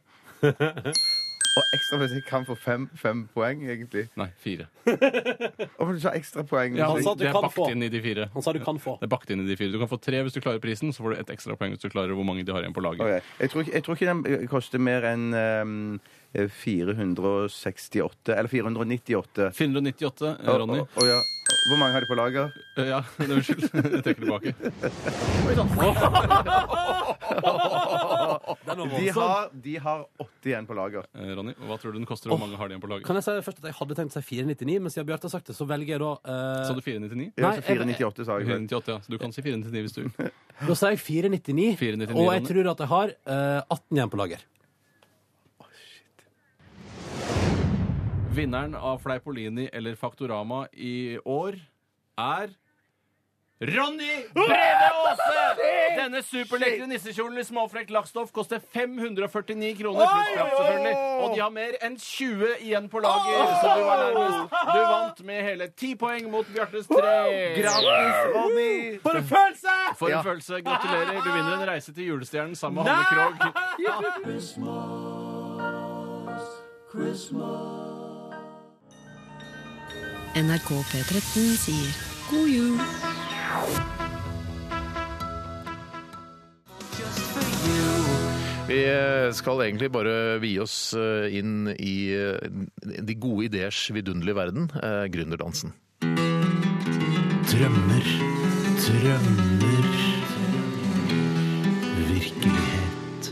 S11: Og ekstra hvis jeg kan få fem, fem poeng, egentlig.
S8: Nei, fire.
S11: Å, men du sa ekstra poeng.
S8: Ja,
S11: Så-
S8: det er bakt inn i de fire.
S22: Han sa du kan få.
S8: Det er bakt inn i de fire. Du kan få tre hvis du klarer prisen, så får du et ekstrapoeng hvis du klarer hvor mange de har igjen på lager.
S11: Ok. Jeg, tror ikke, jeg tror ikke den eh, koster mer enn eh, 468 Eller 498.
S8: 498, eh, Ronny.
S11: Å, å, å, ja. Hvor mange har de på lager?
S8: Eh, Ja, unnskyld. Jeg trekker tilbake.
S11: De har, de har 80 igjen på lager.
S8: Eh, Ronny, hva tror du den koster, og hvor mange har de igjen på lager?
S22: Kan jeg si først at jeg hadde tenkt å si 499, men siden Bjarte har sagt det, så velger jeg da eh,
S8: Sa du 499?
S22: Nei, jeg- 498
S11: sa jeg.
S8: 498, ja. Så du kan si 499 hvis du vil.
S22: Da sier jeg 499,
S8: 499,
S22: og jeg
S8: Ronny.
S22: tror at jeg har eh, 18 igjen på lager.
S8: Vinneren av Fleipolini eller Faktorama i år er
S2: Ronny Brede Aase! Denne superlekre nissekjolen i småfrekt lakkstoff koster 549 kroner pluss frakt, selvfølgelig. Og de har mer enn 20 igjen på lager, så du var nærmest. Du vant med hele 10 poeng mot Bjartes 3.
S11: Gratis, Ronny!
S2: For en følelse! For en
S11: Ja.
S2: følelse. Gratulerer. Du vinner en reise til julestjernen sammen med Hanne Krogh.
S10: NRK P13 sier god jul.
S3: Vi eh, skal egentlig bare vie oss eh, inn i eh, de gode ideers vidunderlige verden, eh, gründerdansen.
S9: Drømmer, drømmer Virkelighet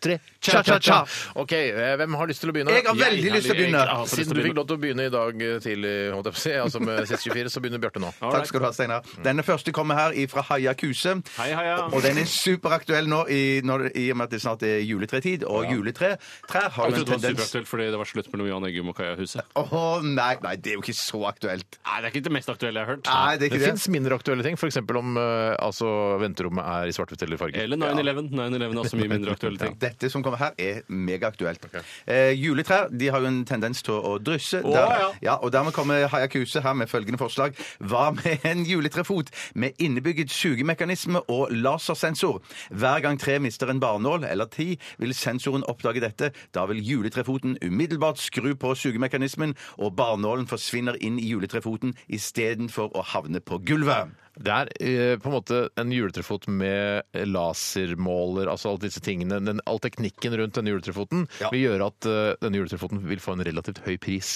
S3: tre.
S11: Cha, cha, cha.
S3: Ok, eh, Hvem har lyst til å begynne?
S11: Jeg har veldig lyst til å begynne.
S3: Jeg har også lyst til å begynne. Siden du fikk lov til å begynne i dag eh, tidlig, holdt jeg på å si, altså med 624, så begynner Bjarte nå.
S11: Takk skal du ha, Steinar. Denne første kommer her fra Haia Kuse.
S8: Mm. Hei, Haia.
S11: Og den er superaktuell nå i, når, i og med at det snart er juletretid. Og juletre trær har
S8: Jeg
S11: jo en
S8: trodde det
S11: tendens
S8: var superaktuelt fordi det var slutt mellom Jan Eggum og Kaja Huset.
S11: Å nei, nei, det er jo ikke så aktuelt.
S8: Nei, det er ikke det mest aktuelle jeg har hørt.
S11: Nei, det er ikke det.
S3: fins mindre aktuelle ting, f.eks. om eh, altså, venterommet er i svart-hvitt eller farge.
S8: Eller 9-11. 9-11 er også mye mindre aktuelle ting.
S11: Dette som kommer her, er megaaktuelt. Eh, juletrær de har jo en tendens til å drysse.
S8: Å,
S11: Der-
S8: ja.
S11: og Dermed kommer Hayakuse her med følgende forslag. Hva med en juletrefot med innebygget sugemekanisme og lasersensor? Hver gang treet mister en barnål eller ti, vil sensoren oppdage dette. Da vil juletrefoten umiddelbart skru på sugemekanismen, og barnålen forsvinner inn i juletrefoten istedenfor å havne på gulvet.
S3: Det er eh, på en måte en juletrefot med lasermåler, altså alle disse tingene. Den, all teknikken rundt denne juletrefoten vil gjøre at eh, denne juletrefoten vil få en relativt høy pris.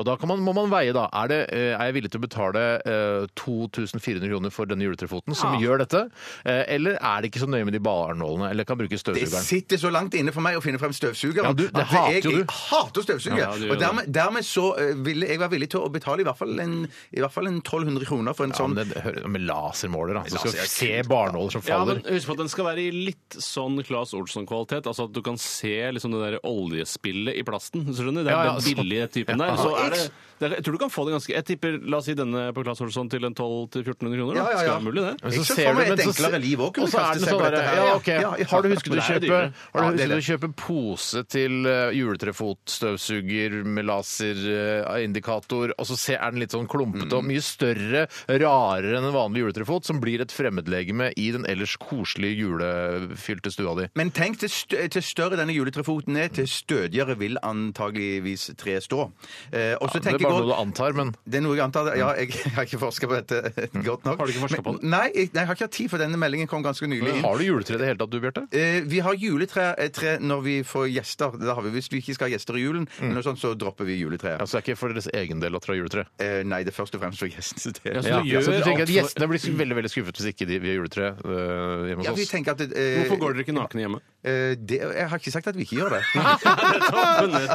S3: Og da kan man, må man veie, da. Er, det, eh, er jeg villig til å betale eh, 2400 kroner for denne juletrefoten som gjør dette? Eh, eller er det ikke så nøye med de barnålene? Eller kan bruke
S11: Det
S3: støvsugeren?
S11: sitter så langt inne for meg å finne frem støvsugeren.
S3: Ja, du, det
S11: at
S3: hater
S11: jeg,
S3: jo du.
S11: jeg hater støvsuger.
S3: Ja, du gjør
S11: og dermed, dermed så eh, ville jeg være villig til å betale i hvert fall en, i hvert fall en 1200 kroner for en
S3: Ja,
S11: sånn
S3: men det, det hører- med lasermåler, da. Så skal
S11: Laser er
S3: du se barnåler som
S8: Ja, men
S3: faller.
S8: Husk på at den skal være i litt sånn Claes Olsson-kvalitet. Altså at du kan se liksom det der oljespillet i plasten. hvis du skjønner? Det er
S3: Ja, ja,
S8: den
S3: sånn.
S8: billige typen
S3: Ja.
S8: der. Så er det, det er, jeg tror du kan få det ganske Jeg tipper, la oss si denne på Claes Olsson til en 1200-1400 kroner. Da.
S11: Ja, ja, ja.
S8: Skal være mulig, det.
S3: Men
S11: Jeg
S3: så
S11: ser
S3: ser
S11: for
S3: du,
S11: meg et
S3: men så
S11: enklere
S3: se-
S11: liv også kunne
S3: Og så er
S11: kaste
S3: det
S11: seg
S3: sånn
S11: på dette
S3: derre
S11: her.
S3: Ja,
S11: Ja,
S3: OK.
S11: ja, ja.
S3: Har du husket
S11: Men
S3: å
S11: det er
S3: kjøpe,
S11: dyrere.
S3: har
S11: Ja,
S3: du
S11: det
S3: husket
S11: er
S3: å
S11: det.
S3: kjøpe pose til eh, juletrefotstøvsuger med laserindikator, og så se- er den litt sånn klumpete
S11: Mm.
S3: og mye større, rarere enn en vanlig juletrefot, som blir et fremmedlegeme i den ellers koselige julefylte stua di?
S11: Men tenk til, stø til større denne juletrefoten er, til stødigere vil antageligvis treet stå. Eh, og så
S3: Det er
S11: tenker jeg
S3: bare
S11: godt-
S3: noe Mm. du antar, men
S11: Det er noe jeg antar. Ja, jeg, jeg har ikke forska på dette
S3: Mm.
S11: godt nok.
S8: Har du ikke forsket på det?
S11: Men- Nei, jeg, nei, jeg har ikke hatt tid, for denne meldingen kom ganske nylig inn.
S3: har du juletre i det hele tatt, du, Bjarte?
S11: Eh, vi har juletre eh, tre når vi får gjester. Da har vi, hvis vi ikke skal ha gjester i
S3: Mm.
S11: julen, eller noe sånt, så dropper vi juletreet.
S3: Altså, det er ikke for deres egen del at dere har juletre?
S11: Eh, nei, det er først og fremst for gjestens del.
S8: Ja, så
S3: Ja,
S8: du gjør
S3: så du tenker
S8: alt
S3: at
S8: for-
S3: Gjestene blir veldig veldig skuffet hvis ikke de, vi har juletre eh, hjemme hos
S11: Ja, vi
S3: oss.
S11: tenker at eh,
S8: Hvorfor går dere ikke nakne hjemme?
S11: eh, det, Jeg har ikke sagt at vi ikke gjør det.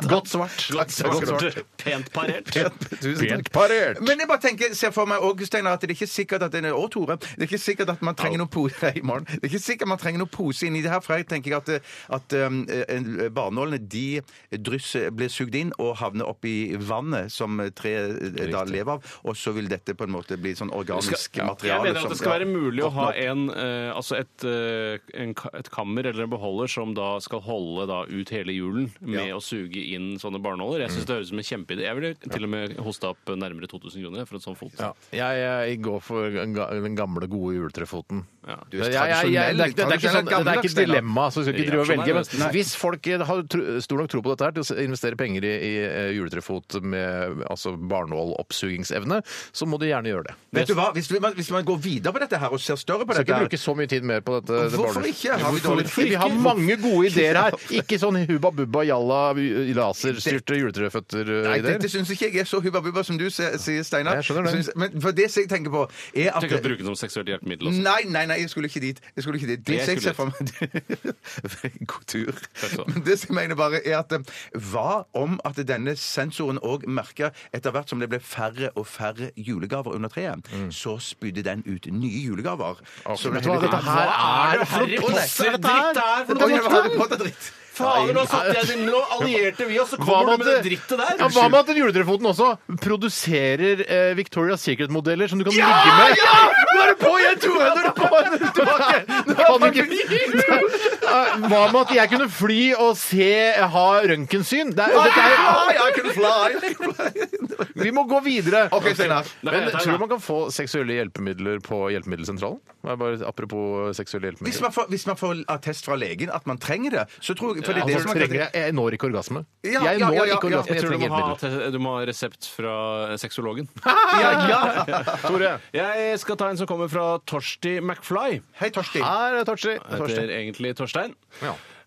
S3: Godt svart.
S11: Godt svart.
S3: Godt svart.
S8: Pent parert.
S3: Pent parert.
S11: Men jeg bare tenker, ser for meg også, Steinar, at det er ikke sikkert at det er, og Tore, det er ikke sikkert at man trenger noen pose i morgen. Det er ikke sikkert man trenger noen pose inni det her, for jeg tenker at, at um, eh, barnålene de drysser, blir sugd inn og havner oppi vannet som treet eh, da lever av, og så vil dette på en måte bli sånn organisk
S8: Jeg
S11: materiale.
S8: mener at det skal være mulig å ha en, eh, altså et, eh, en, ka- et kammer eller en beholder som da skal holde da ut hele julen med å suge inn sånne barnåler.
S3: Mm.
S8: Jeg syns det høres ut som en kjempeidé. Jeg ville til og med hosta opp nærmere 2000 kroner for en sånn fot.
S3: Ja. Jeg, jeg går for den ga- den gamle, gode juletrefoten.
S8: Ja.
S11: Du er
S3: Jeg- jeg- jeg-
S11: tradisjonell,
S3: det, er ikke- det, er ikke sånn, det er ikke
S11: gammeldags,
S3: et dilemma, så vi skal ikke drive og velge.
S11: Nei.
S3: Men hvis folk eh, har tro- stor nok tro på dette her til å investere penger i, i eh, juletrefot med altså barnåloppsugingsevne, så må de gjerne gjøre det.
S11: Vet du hva, hvis, vi- hvis man går videre på dette her og ser større
S3: Vi
S11: på
S3: skal
S11: dette
S3: ikke
S11: her
S3: bruke så mye tid mer på dette. det
S11: Hvorfor
S3: barnål-
S11: ikke? Har vi dårlig
S3: Fordi
S11: tid?
S3: Vi har mange gode ideer her. Ikke sånn hubba bubba jalla laserstyrte
S11: Nei, dette
S3: juletreføtter-ideer.
S11: syns ikke jeg er så hubba-bubba som du sier, sier, Steinar.
S3: Jeg skjønner det.
S11: Synes- men for det som jeg tenker på, er at
S8: Tenker å bruke det som seksuelt hjelpemiddel også.
S11: Nei, nei, nei, jeg skulle ikke dit. Jeg skulle ikke dit. Det
S8: Jeg
S11: som jeg ser for
S8: skulle
S11: meg God tur.
S8: skal du ha.
S11: Men det som jeg mener bare, er at eh, hva om at denne sensoren òg merka etter hvert som det ble færre og færre julegaver under treet,
S2: Mm.
S11: så spydde den ut nye julegaver. Så
S3: vet du hva, dette her
S11: Hva
S3: er for noe
S11: Å, nei.
S3: potter, dette her?
S11: Å,
S3: Dette er
S11: ja,
S3: for
S11: Harry
S3: tull.
S11: Potter-dritt.
S2: Fader, nå satt jeg i nå allierte vi oss, så kommer du med det drittet der.
S3: Ja, hva med at den juletrefoten også produserer eh, Victoria's Secret-modeller som du kan
S2: Ja,
S3: ligge med?
S2: ja!
S3: Nå er du på igjen, Tore! Nå er du på igjen! Du kan ikke- Eh, Hva med at jeg kunne fly og se ha røntgensyn? Det er- dette er-
S11: I can fly!
S3: Vi må gå videre.
S11: Ok, Steinar.
S3: Men tror du man kan få seksuelle hjelpemidler på Hjelpemiddelsentralen? Det er Bare apropos seksuelle
S11: Hvis
S3: hjelpemidler.
S11: man, får, hvis man får attest fra legen at man trenger det, så tror jeg for det er det
S3: Altså,
S11: som er-
S3: trenger jeg, jeg når ikke orgasme.
S11: Ja,
S3: Jeg
S11: ja,
S3: når
S11: ja, ja,
S3: ikke
S11: ja.
S3: orgasme.
S11: Jeg
S3: Jeg
S11: tror
S3: trenger
S8: Du må, ha,
S3: hjelpemidler.
S8: te- du må ha resept fra sexologen. Ah!
S11: ja.
S3: Tore.
S8: Jeg skal ta en som kommer fra Torsti McFly.
S11: Hei, Torsti.
S8: Ah!
S3: Her er Torsti.
S8: Heter egentlig Torstein.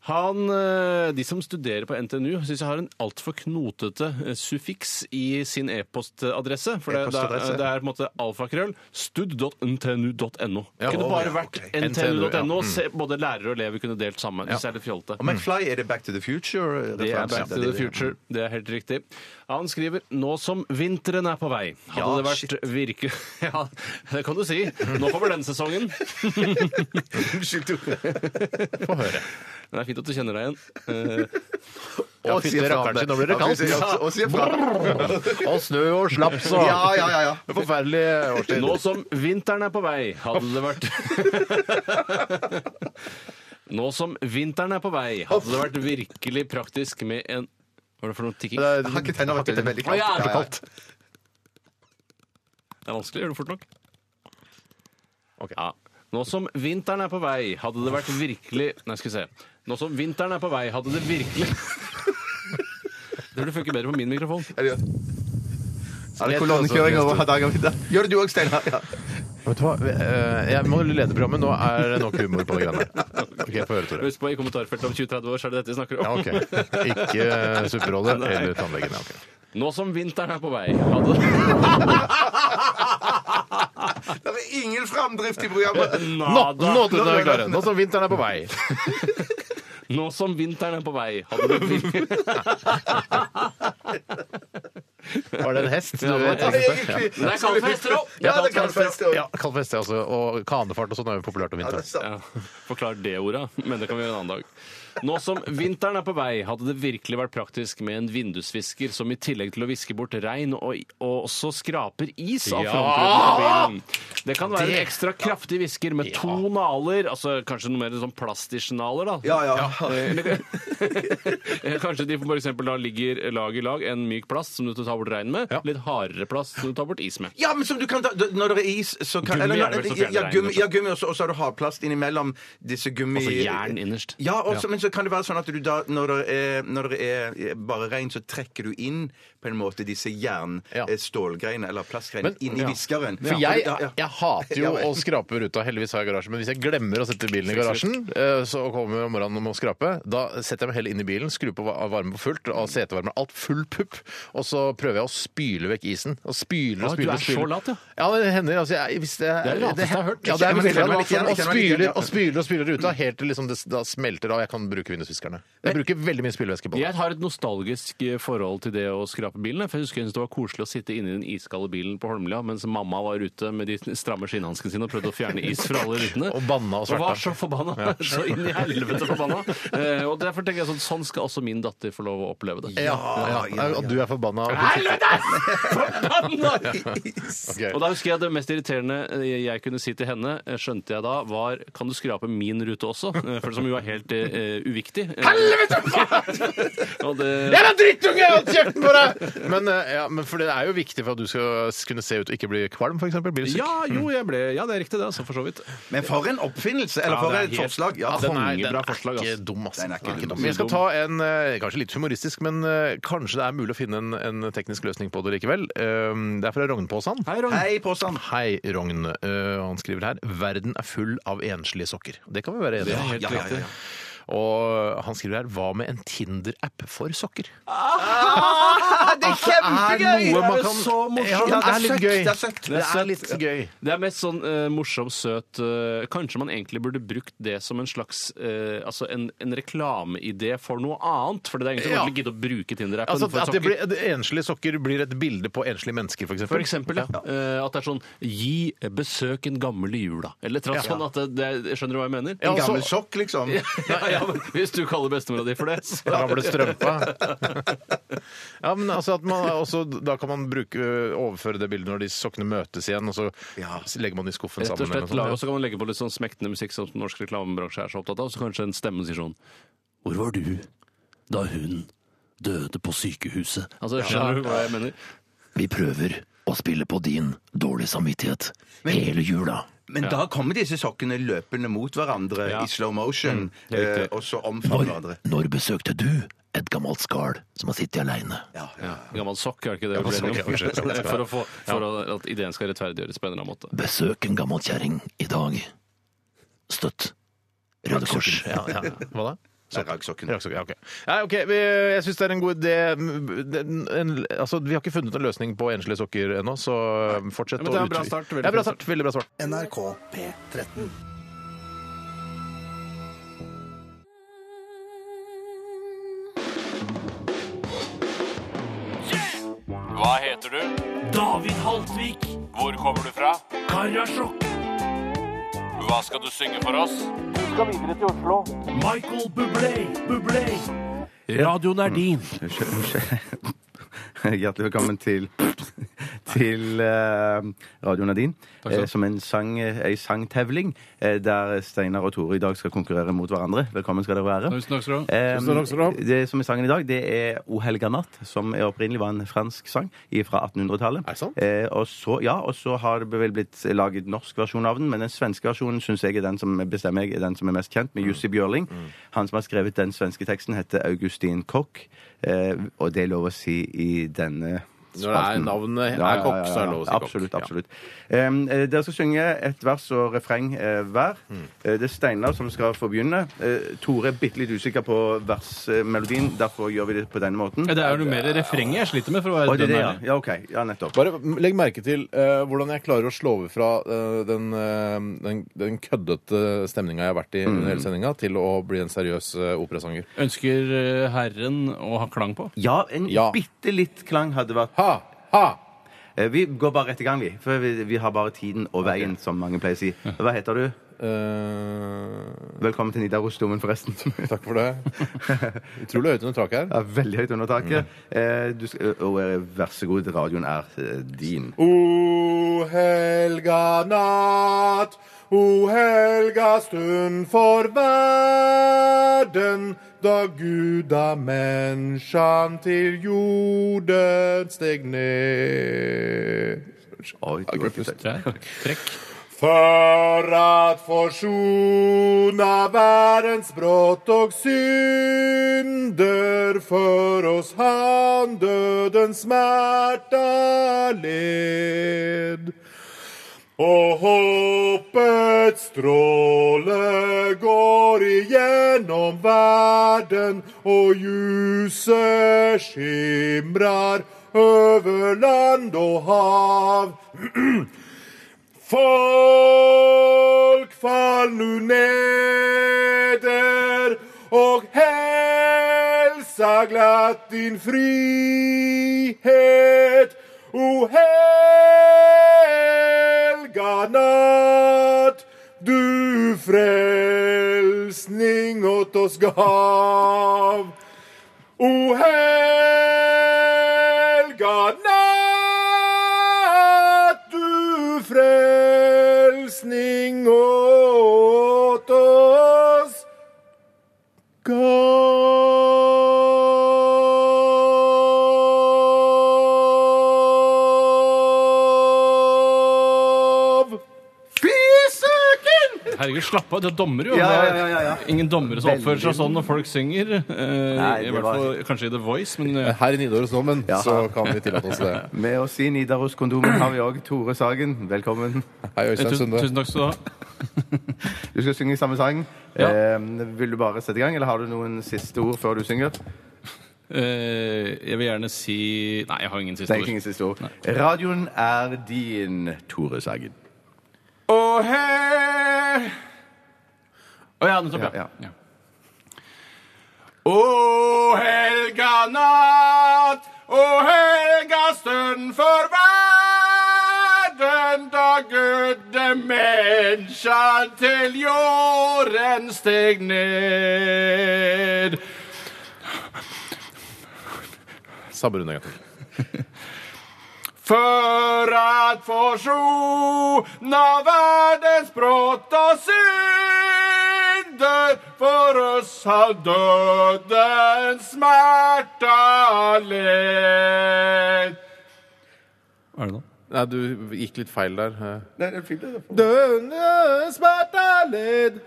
S8: Han, eh, de som studerer på NTNU, syns jeg har en altfor knotete eh, suffiks i sin e-postadresse. For det, det,
S11: E-postadresse.
S8: er, det er på en måte alfakrøll. stud.ntnu.no.
S3: Ja,
S8: kunne
S3: å,
S8: bare
S3: ja,
S8: vært
S3: ok. NTNU, ja.
S8: ntnu.no.
S3: Mm.
S8: Se- Både lærere og elever kunne delt sammen. Det er litt fjolte.
S11: Og McFly, er det Back to the Future?
S8: Det er Back to the Future. Det er helt riktig. Han skriver nå som vinteren er på vei. Hadde
S11: Ja,
S8: det vært virke... Ja, det kan du si. Nå kommer den sesongen.
S11: Unnskyld,
S3: Få høre.
S8: Men Det er fint at du kjenner deg igjen. Eh,
S3: Ja,
S11: Og sier
S3: fytti
S11: fra
S3: rakkeren
S11: det.
S3: sin, nå blir det
S11: Ja,
S3: kaldt.
S11: vi sier- Og sier fra det.
S3: Og snø og slaps og
S11: Ja, ja, ja, ja.
S3: Forferdelig
S8: eh,
S3: årstid.
S8: Nå som vinteren er på vei, hadde det vært Nå som vinteren er på vei, hadde det vært virkelig praktisk med en Hva er det for noe tikking? Det
S11: Jeg har ikke tenner, vet du. Det er veldig
S8: Å,
S11: kaldt.
S8: ja, det er
S11: Ja, ja.
S8: kaldt. er vanskelig. Gjør det fort nok. Ja. Nå som vinteren er på vei, hadde det vært virkelig Nei, skal vi se. Nå som vinteren er på vei, hadde det virkelig Det burde funke bedre på min mikrofon.
S11: Er det- Er det
S3: Slet,
S11: kolonnekjøring
S3: altså,
S11: over dag og middag? Gjør det du òg, Steinar. Ja.
S3: Vet du hva? Eh, Jeg må lede programmet. Nå er det nok humor på de greiene der. Ok, Få høre, Tore.
S8: Husk på, i kommentarfeltet om 20-30 år så er det dette vi snakker om.
S3: Ja, ok. Ikke eh, supperådet
S8: Nei.
S3: eller tannlegen. Ja, ok.
S8: Nå som vinteren er på vei, hadde
S11: Det er ingen framdrift i programmet!
S3: Nå,
S8: Nada.
S3: nå, Tore, nå er vi klare. Nå som vinteren er på vei.
S8: Nå som vinteren er på vei, hadde det virkelig
S3: Var det en hest? Du
S8: Ja, det var
S3: tenkte
S8: en
S3: på?
S11: egentlig-
S3: Ja.
S8: Det er kaldt for hester òg!
S11: Ja, det kan feste
S3: Ja, kald fest, ja, altså. Og kanefart og sånn er jo populært om vinteren.
S11: òg.
S8: Ja, forklar det ordet, men det kan vi gjøre en annen dag. Nå som vinteren er på vei, hadde det virkelig vært praktisk med en vindusvisker som i tillegg til å viske bort regn, og, og også skraper is av
S3: Ja!
S8: frontruten på bilen. Det kan være
S3: Det-
S8: en ekstra kraftig visker med to naler, altså kanskje noe mer sånn plastisjnaler, da.
S11: Ja, ja.
S8: Eh, Kanskje de for eksempel da ligger lag i lag, en myk plast som du tar bort regn med,
S3: Ja.
S8: litt hardere plast som du tar bort is med.
S11: Ja, men som du kan ta, d- Når det er is så kan,
S8: Gummi
S11: eller,
S8: er det vel som fjerner
S11: ja, gummi,
S8: regnet,
S11: ja, gummi og så- og så har du hardplast innimellom disse gummi...
S8: Altså jern innerst.
S11: Ja, også, men så kan det være sånn at du da, når det er, når det er eh, bare regn, så trekker du inn på en måte disse
S3: Ja.
S11: jernstålgreiene eller plastgreiene
S3: Men-
S11: inn i
S3: ja.
S11: viskeren.
S3: For jeg,
S11: Ja, ja.
S3: jeg hater jo
S11: Ja, vel.
S3: å skrape ruta. Heldigvis har jeg garasje. Men hvis jeg glemmer å sette bilen i garasjen, eh, så kommer jeg om morgenen og må skrape, da setter jeg meg heller inn i bilen, skrur på va- varmen på fullt, og setevarmen alt full pupp, og så prøver jeg å spyle vekk isen. Og spyler og
S8: Å, du
S3: spyler.
S8: er
S3: og spyler.
S8: så lat, ja.
S3: Ja, det hender. Altså, jeg, hvis det,
S8: Det er det lateste jeg har hørt.
S3: Ja, det er
S11: Jeg
S3: veldig
S11: kjenner meg
S3: lat.
S11: litt igjen, jeg
S3: Og
S11: kjenner meg litt igjen,
S3: spyler
S11: ja.
S3: og spyler og spyler ruta helt til liksom det s- da smelter av. Jeg kan bruke vindusviskerne. Jeg bruker veldig mye spylevæske på det.
S8: Jeg har et nostalgisk eh, forhold til det å skrape bilen. For jeg husker jeg syntes det var koselig å sitte inne i den iskalde bilen på Holmlia mens mamma var ute med de stramme skinnhanskene sine og prøvde å fjerne is fra alle rutene.
S3: Og banna og sverta.
S8: var så forbanna. Så inn i helvete forbanna. Eh, Og derfor tenker jeg sånn, sånn skal også min datter få lov å oppleve det.
S3: Ja, ja, ja, Og du er forbanna. og hun sitter- Ok.
S8: Og da husker jeg det mest irriterende eh, jeg kunne si til henne, eh, skjønte jeg da, var Kan du skrape min rute også? Eh, For som jo er helt eh, uviktig. Helvete! og det
S3: Jeg er en drittunge! Jeg har kjeften på deg! Men, eh, ja, men for det er jo viktig for at du skal s- kunne se ut og ikke bli kvalm, f.eks. Blir du syk?
S8: Ja, jo, jeg ble, ja, det er riktig, det. Altså, for så vidt.
S11: Men for en oppfinnelse! Eller
S8: Ja,
S11: for
S8: det er
S11: et
S8: helt-
S11: forslag. Ja,
S8: den er-
S3: den
S8: bra
S3: er
S8: forslag, ass.
S3: ikke dum, ass.
S11: Den er ikke dum.
S3: Men jeg skal ta en eh, kanskje litt humoristisk, men eh, kanskje det er mulig å finne en, en teknisk løsning på det likevel. Eh, Det er fra Rognpåsan.
S8: Hei, Ron.
S11: Hei, påstand!
S3: Hei, Rogn. Eh, han skriver her 'Verden er full av enslige sokker'. Det kan vi være enige
S8: Det er
S3: om.
S8: helt
S11: Ja, ja, ja,
S8: riktig.
S11: ja.
S27: Og han skriver her Hva med en Tinder-app for sokker?
S28: Ah, Det er kjempegøy!
S27: noe man
S28: Det er
S27: kan-
S28: så morsomt.
S27: Ja, det er litt gøy.
S28: Det er søtt.
S27: Det er litt gøy.
S8: Det er mest sånn eh, morsom, søt eh, Kanskje man egentlig burde brukt det som en slags eh, Altså en, en reklameidé for noe annet. For det er ingen som
S27: Ja.
S8: ja. gidder å bruke Tinder-appen
S27: Altså,
S8: for
S27: at det
S8: sokker.
S27: blir, at enslige sokker blir et bilde på enslige mennesker, f.eks.
S8: For eksempel, ja. Eh, At det er sånn Gi besøk en gammel i jula. Eller et eller annet
S27: Ja.
S8: sånn at det, det, Skjønner du hva jeg mener?
S28: En
S27: altså-
S28: gammel sokk, liksom.
S8: ja, ja, men hvis du kaller bestemora di for det, så
S27: Gamle strømpa. Ja, men altså at man også, Da kan man bruke, overføre det bildet når de sokkene møtes igjen, og så legger man de i skuffen
S8: Rett og
S27: sammen. eller
S8: slett,
S27: noe
S8: la- og
S27: sånt.
S8: så kan man legge på litt sånn smektende musikk som norsk reklamebransje er så opptatt av, så kanskje en stemme sier sånn Hvor var du da hun døde på sykehuset? Altså, skjønner du hva jeg mener?
S4: Vi prøver å spille på din dårlige samvittighet hele jula.
S28: Men da kommer disse sokkene løpende mot hverandre i slow motion,
S8: Mm,
S28: eh, og så omfavner hverandre.
S4: Når besøkte du et gammelt skall som har sittet aleine?
S8: Gammel sokk, er det ikke det?
S4: Gammel sokk, ja, unnskyld,
S8: for,
S4: sokk, ja.
S8: for, å få, for å, at ideen skal rettferdiggjøres på en eller annen måte.
S4: Besøk en gammel kjerring i dag. Støtt Røde Kors.
S27: Ja, ja. Hva da?
S28: Raggsokken.
S27: Raggsokken, Ja, ok. Nei, ok, vi, jeg syns det er en god idé. Den- en- altså, vi har ikke funnet en løsning på enslige sokker ennå, så fortsett
S8: Ja, men det er en
S27: å
S8: bra
S27: utvi-
S8: start, veldig
S27: Ja, bra
S8: fin
S27: start. Veldig bra start.
S4: NRK P13.
S29: Hva heter du? David Haltvik. Hvor kommer du fra? Karasjok. Hva skal du synge for oss? Du skal videre til Oslo. Michael Bublé, Bublé. Radioen er din.
S11: Hjertelig velkommen til, til eh, Radio Nadine,
S28: Takk skal du ha.
S11: eh, som en, sang, eh, ei sangtevling eh, der Steinar og Tore i dag skal konkurrere mot hverandre. Velkommen skal dere være.
S8: Tusen takk skal du ha.
S11: Eh,
S8: Tusen takk skal du ha.
S11: det som er sangen i dag, det er O helga natt, som er opprinnelig var en fransk sang fra 1800-tallet. Er det sant? Eh, og så, ja, og så har det vel blitt laget norsk versjon av den, men den svenske versjonen syns jeg er den som bestemmer jeg er den som er mest kjent, med
S27: Mm.
S11: Jussi Bjørling. Han som har skrevet den svenske teksten, heter Augustin Kokk, eh, og det er lov å si i denne
S27: Når det er navnet er Kokk, så er det lov å si Kokk.
S11: Absolutt. absolutt. Em, eh, dere skal synge et vers og refreng eh, hver. Eh, det er Steinar som skal få begynne. Eh, Tore er bitte litt usikker på versmelodien, derfor gjør vi det på denne måten.
S30: Ja, det er jo noe mer refrenget jeg sliter med. for å være
S11: Å, det er
S30: dønn
S11: det, ja.
S30: ærlig.
S11: ja, OK. Ja, nettopp.
S30: Bare legg merke til eh, hvordan jeg klarer å slå over fra eh, den, eh, den, den køddete stemninga jeg har
S27: Mm.
S30: vært i under hele sendinga, til å bli en seriøs eh, operasanger.
S8: Ønsker eh, herren å ha klang på?
S11: Ja, en bitte litt klang hadde vært eh,
S30: Ha! Ha!
S11: Vi går bare rett i gang, vi. For vi, vi har bare tiden og veien, som mange pleier å si. Hva heter du?
S3: Eh,
S11: Velkommen til Nidarosdomen, forresten.
S30: Takk for det. Utrolig høyt under taket her.
S11: Ja, veldig høyt under taket. Eh, du skal, og eh, vær så god, radioen er eh, din.
S3: O helga natt, o helga stund for verden, da Gud av menneskene til jorden steg ned.
S11: Oi,
S3: Jeg glemte det.
S8: Trekk.
S3: For at forsona verdens brott og synder, for oss han dødens smerta led. Og håpets stråle går igjennom verden, og ljuset skimrar over land og hav. Folk fall nu neder og hälsa glatt din frihet. O helga natt, du frälsning åt oss gav. O helga natt, du frälsning åt oss gav. Fy søken!
S8: Herregud, slapp av, du er dommer jo.
S3: Ja,
S8: Det er
S3: ja, ja, ja.
S8: Ingen dommere som oppfører seg
S3: Veldig.
S8: sånn når folk synger. eh,
S11: Nei,
S8: I
S11: det
S8: hvert
S11: var-
S8: fall kanskje i The Voice, men eh,
S30: Her i Nidarosdomen
S11: Ja.
S30: så kan vi tillate oss det.
S11: Med oss i Nidaroskondomen har vi òg Tore Sagen. Velkommen.
S30: Hei,
S8: tusen, tusen takk skal du ha.
S11: Du skal synge samme sang.
S31: Ja.
S11: Eh, vil du bare sette i gang, eller har du noen siste ord før du synger?
S32: Eh, jeg vil gjerne si Nei, jeg har ingen
S11: Det
S32: siste
S11: er
S32: ord.
S11: ikke ingen siste ord. Radioen er din, Tore Sagen.
S32: Å, hei! Å ja, nettopp, ja. ja.
S8: Å helga natt, å helga stund for verden, da gudemensjan til jorden steg ned.
S3: Sabber hun en gang til.
S8: For at forsona verdens brått og synder, for oss har døden smerta ledd.
S31: Hva er det nå?
S3: Nei, du gikk litt feil der.
S11: Nei, det er fint, det.
S8: Døden smerta ledd.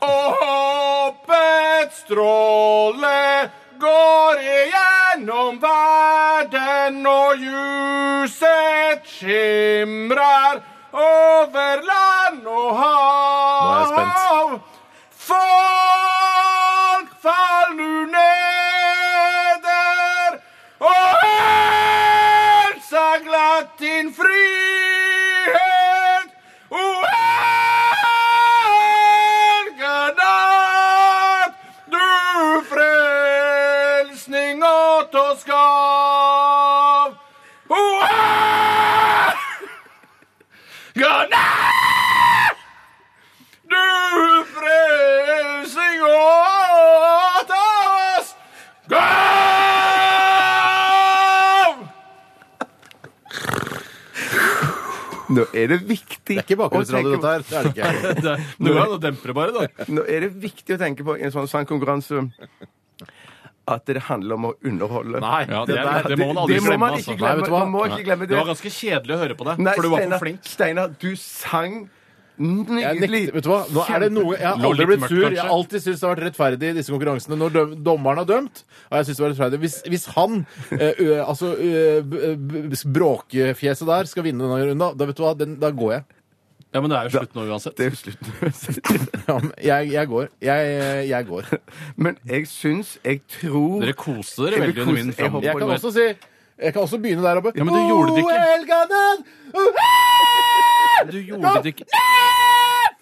S8: Og håpets stråle går igjennom verden, og ljuset skimrer over land og
S3: er jeg spent.
S8: hav. Folk faller neder, og helsa glatt din frihet. Og helga natt, du frelsning åt oss gav. Og helga natt, du frelsning åt oss gav.
S11: Nå er det viktig Det er ikke
S3: bakgrunnsradio, dette her. Det er det ikke.
S11: Nå, Nå er det viktig å tenke på i en sånn sangkonkurranse at det handler om å underholde.
S32: Nei, ja, det, er, det må man aldri
S11: det må man
S32: glemme.
S11: ikke
S32: altså.
S11: glemme. man må ikke glemme
S32: Det var ganske kjedelig å høre på deg,
S11: Nei,
S32: for du var
S11: Steinar-
S32: for flink.
S11: Steinar, du sang nydelig.
S3: Jeg nekter, vet du hva? Nå er det noe, jeg har
S11: Lå
S3: aldri
S11: litt
S3: blitt
S11: mørkt,
S3: sur. Jeg har
S11: kanskje.
S3: alltid syntes det har vært rettferdig i disse konkurransene. Når døm, dommeren har dømt, har jeg syntes det var rettferdig. Hvis, hvis han, eh, ø, altså ø, b- b- bråkefjeset der, skal vinne denne runden, da- da vet du hva, den, da går jeg.
S32: Ja, Men det er jo slutt nå uansett.
S11: Det er jo slutt
S3: Ja, men jeg, jeg går. Jeg, jeg går.
S11: Men jeg syns, jeg tror
S32: Dere koste dere
S11: Jeg vil
S32: veldig
S11: kose-
S32: under min
S11: jeg håper-
S3: Jeg kan også si jeg kan også begynne der oppe.
S32: Ja, men du gjorde det ikke.
S3: Oh, helga den!
S32: Du gjorde det ikke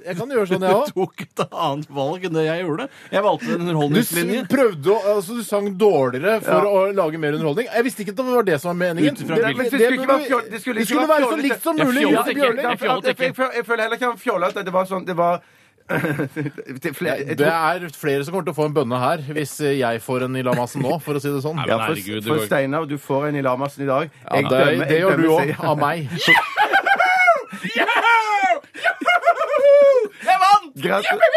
S3: Jeg kan gjøre sånn, jeg òg.
S32: Du tok et annet valg enn det jeg gjorde. Jeg valgte en
S3: Du s-
S32: underholdningslinje.
S3: prøvde å, altså, du sang dårligere for
S32: Ja.
S3: å lage mer underholdning. Jeg visste ikke at det var det som var meningen.
S32: Ut ifra
S3: Det-
S32: hvilken-
S3: det-
S32: Det skulle
S3: det-
S32: ikke være fjoll- det skulle
S3: det
S32: ikke
S3: skulle
S32: være
S3: være så
S32: fjollete.
S3: likt som
S32: Jeg
S3: mulig.
S32: fjollet ikke.
S3: Bjørling.
S32: Jeg
S11: Jeg,
S32: fjollet
S11: jeg, jeg, jeg føler heller ikke han fjollet at det var sånn Det var det, flere, jeg
S3: Det
S11: tror-
S3: er flere som kommer til å få en bønne her, hvis eh, jeg får en i lamassen nå, for å si det sånn.
S11: Ja, for, for Steinar, du får en i Lamassen i dag.
S3: Ja, det- det gjør du
S11: dømmer-
S3: også, av meg.
S8: Jeg vant!
S11: Gratu-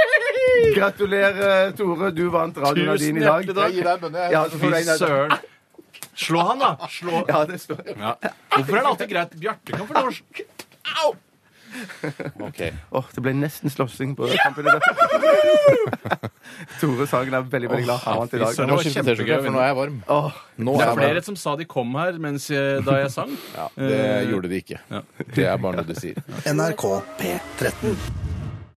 S11: Gratulerer, Tore. Du vant radioen
S8: Tusen
S11: din i dag.
S8: hjertelig takk. Jeg gir deg en bønne, jeg.
S11: Ja, så får du
S8: Fy
S11: en-
S8: søren.
S32: Slå han, da! Slå.
S11: Ja, det står
S32: Ja. Hvorfor er det alltid greit? Bjarte kan få lov å slå. Au!
S11: Åh, det ble nesten slåssing på kampen i dag. Tore Sagen er veldig, veldig glad. Han vant i dag.
S32: Det var kjempegøy.
S3: for nå er jeg varm.
S11: Åh,
S3: Nå
S32: det er
S3: er jeg
S32: flere som sa de kom her mens jeg, da jeg sang.
S3: Det gjorde de ikke. Det er bare noe du sier.
S33: NRK P13.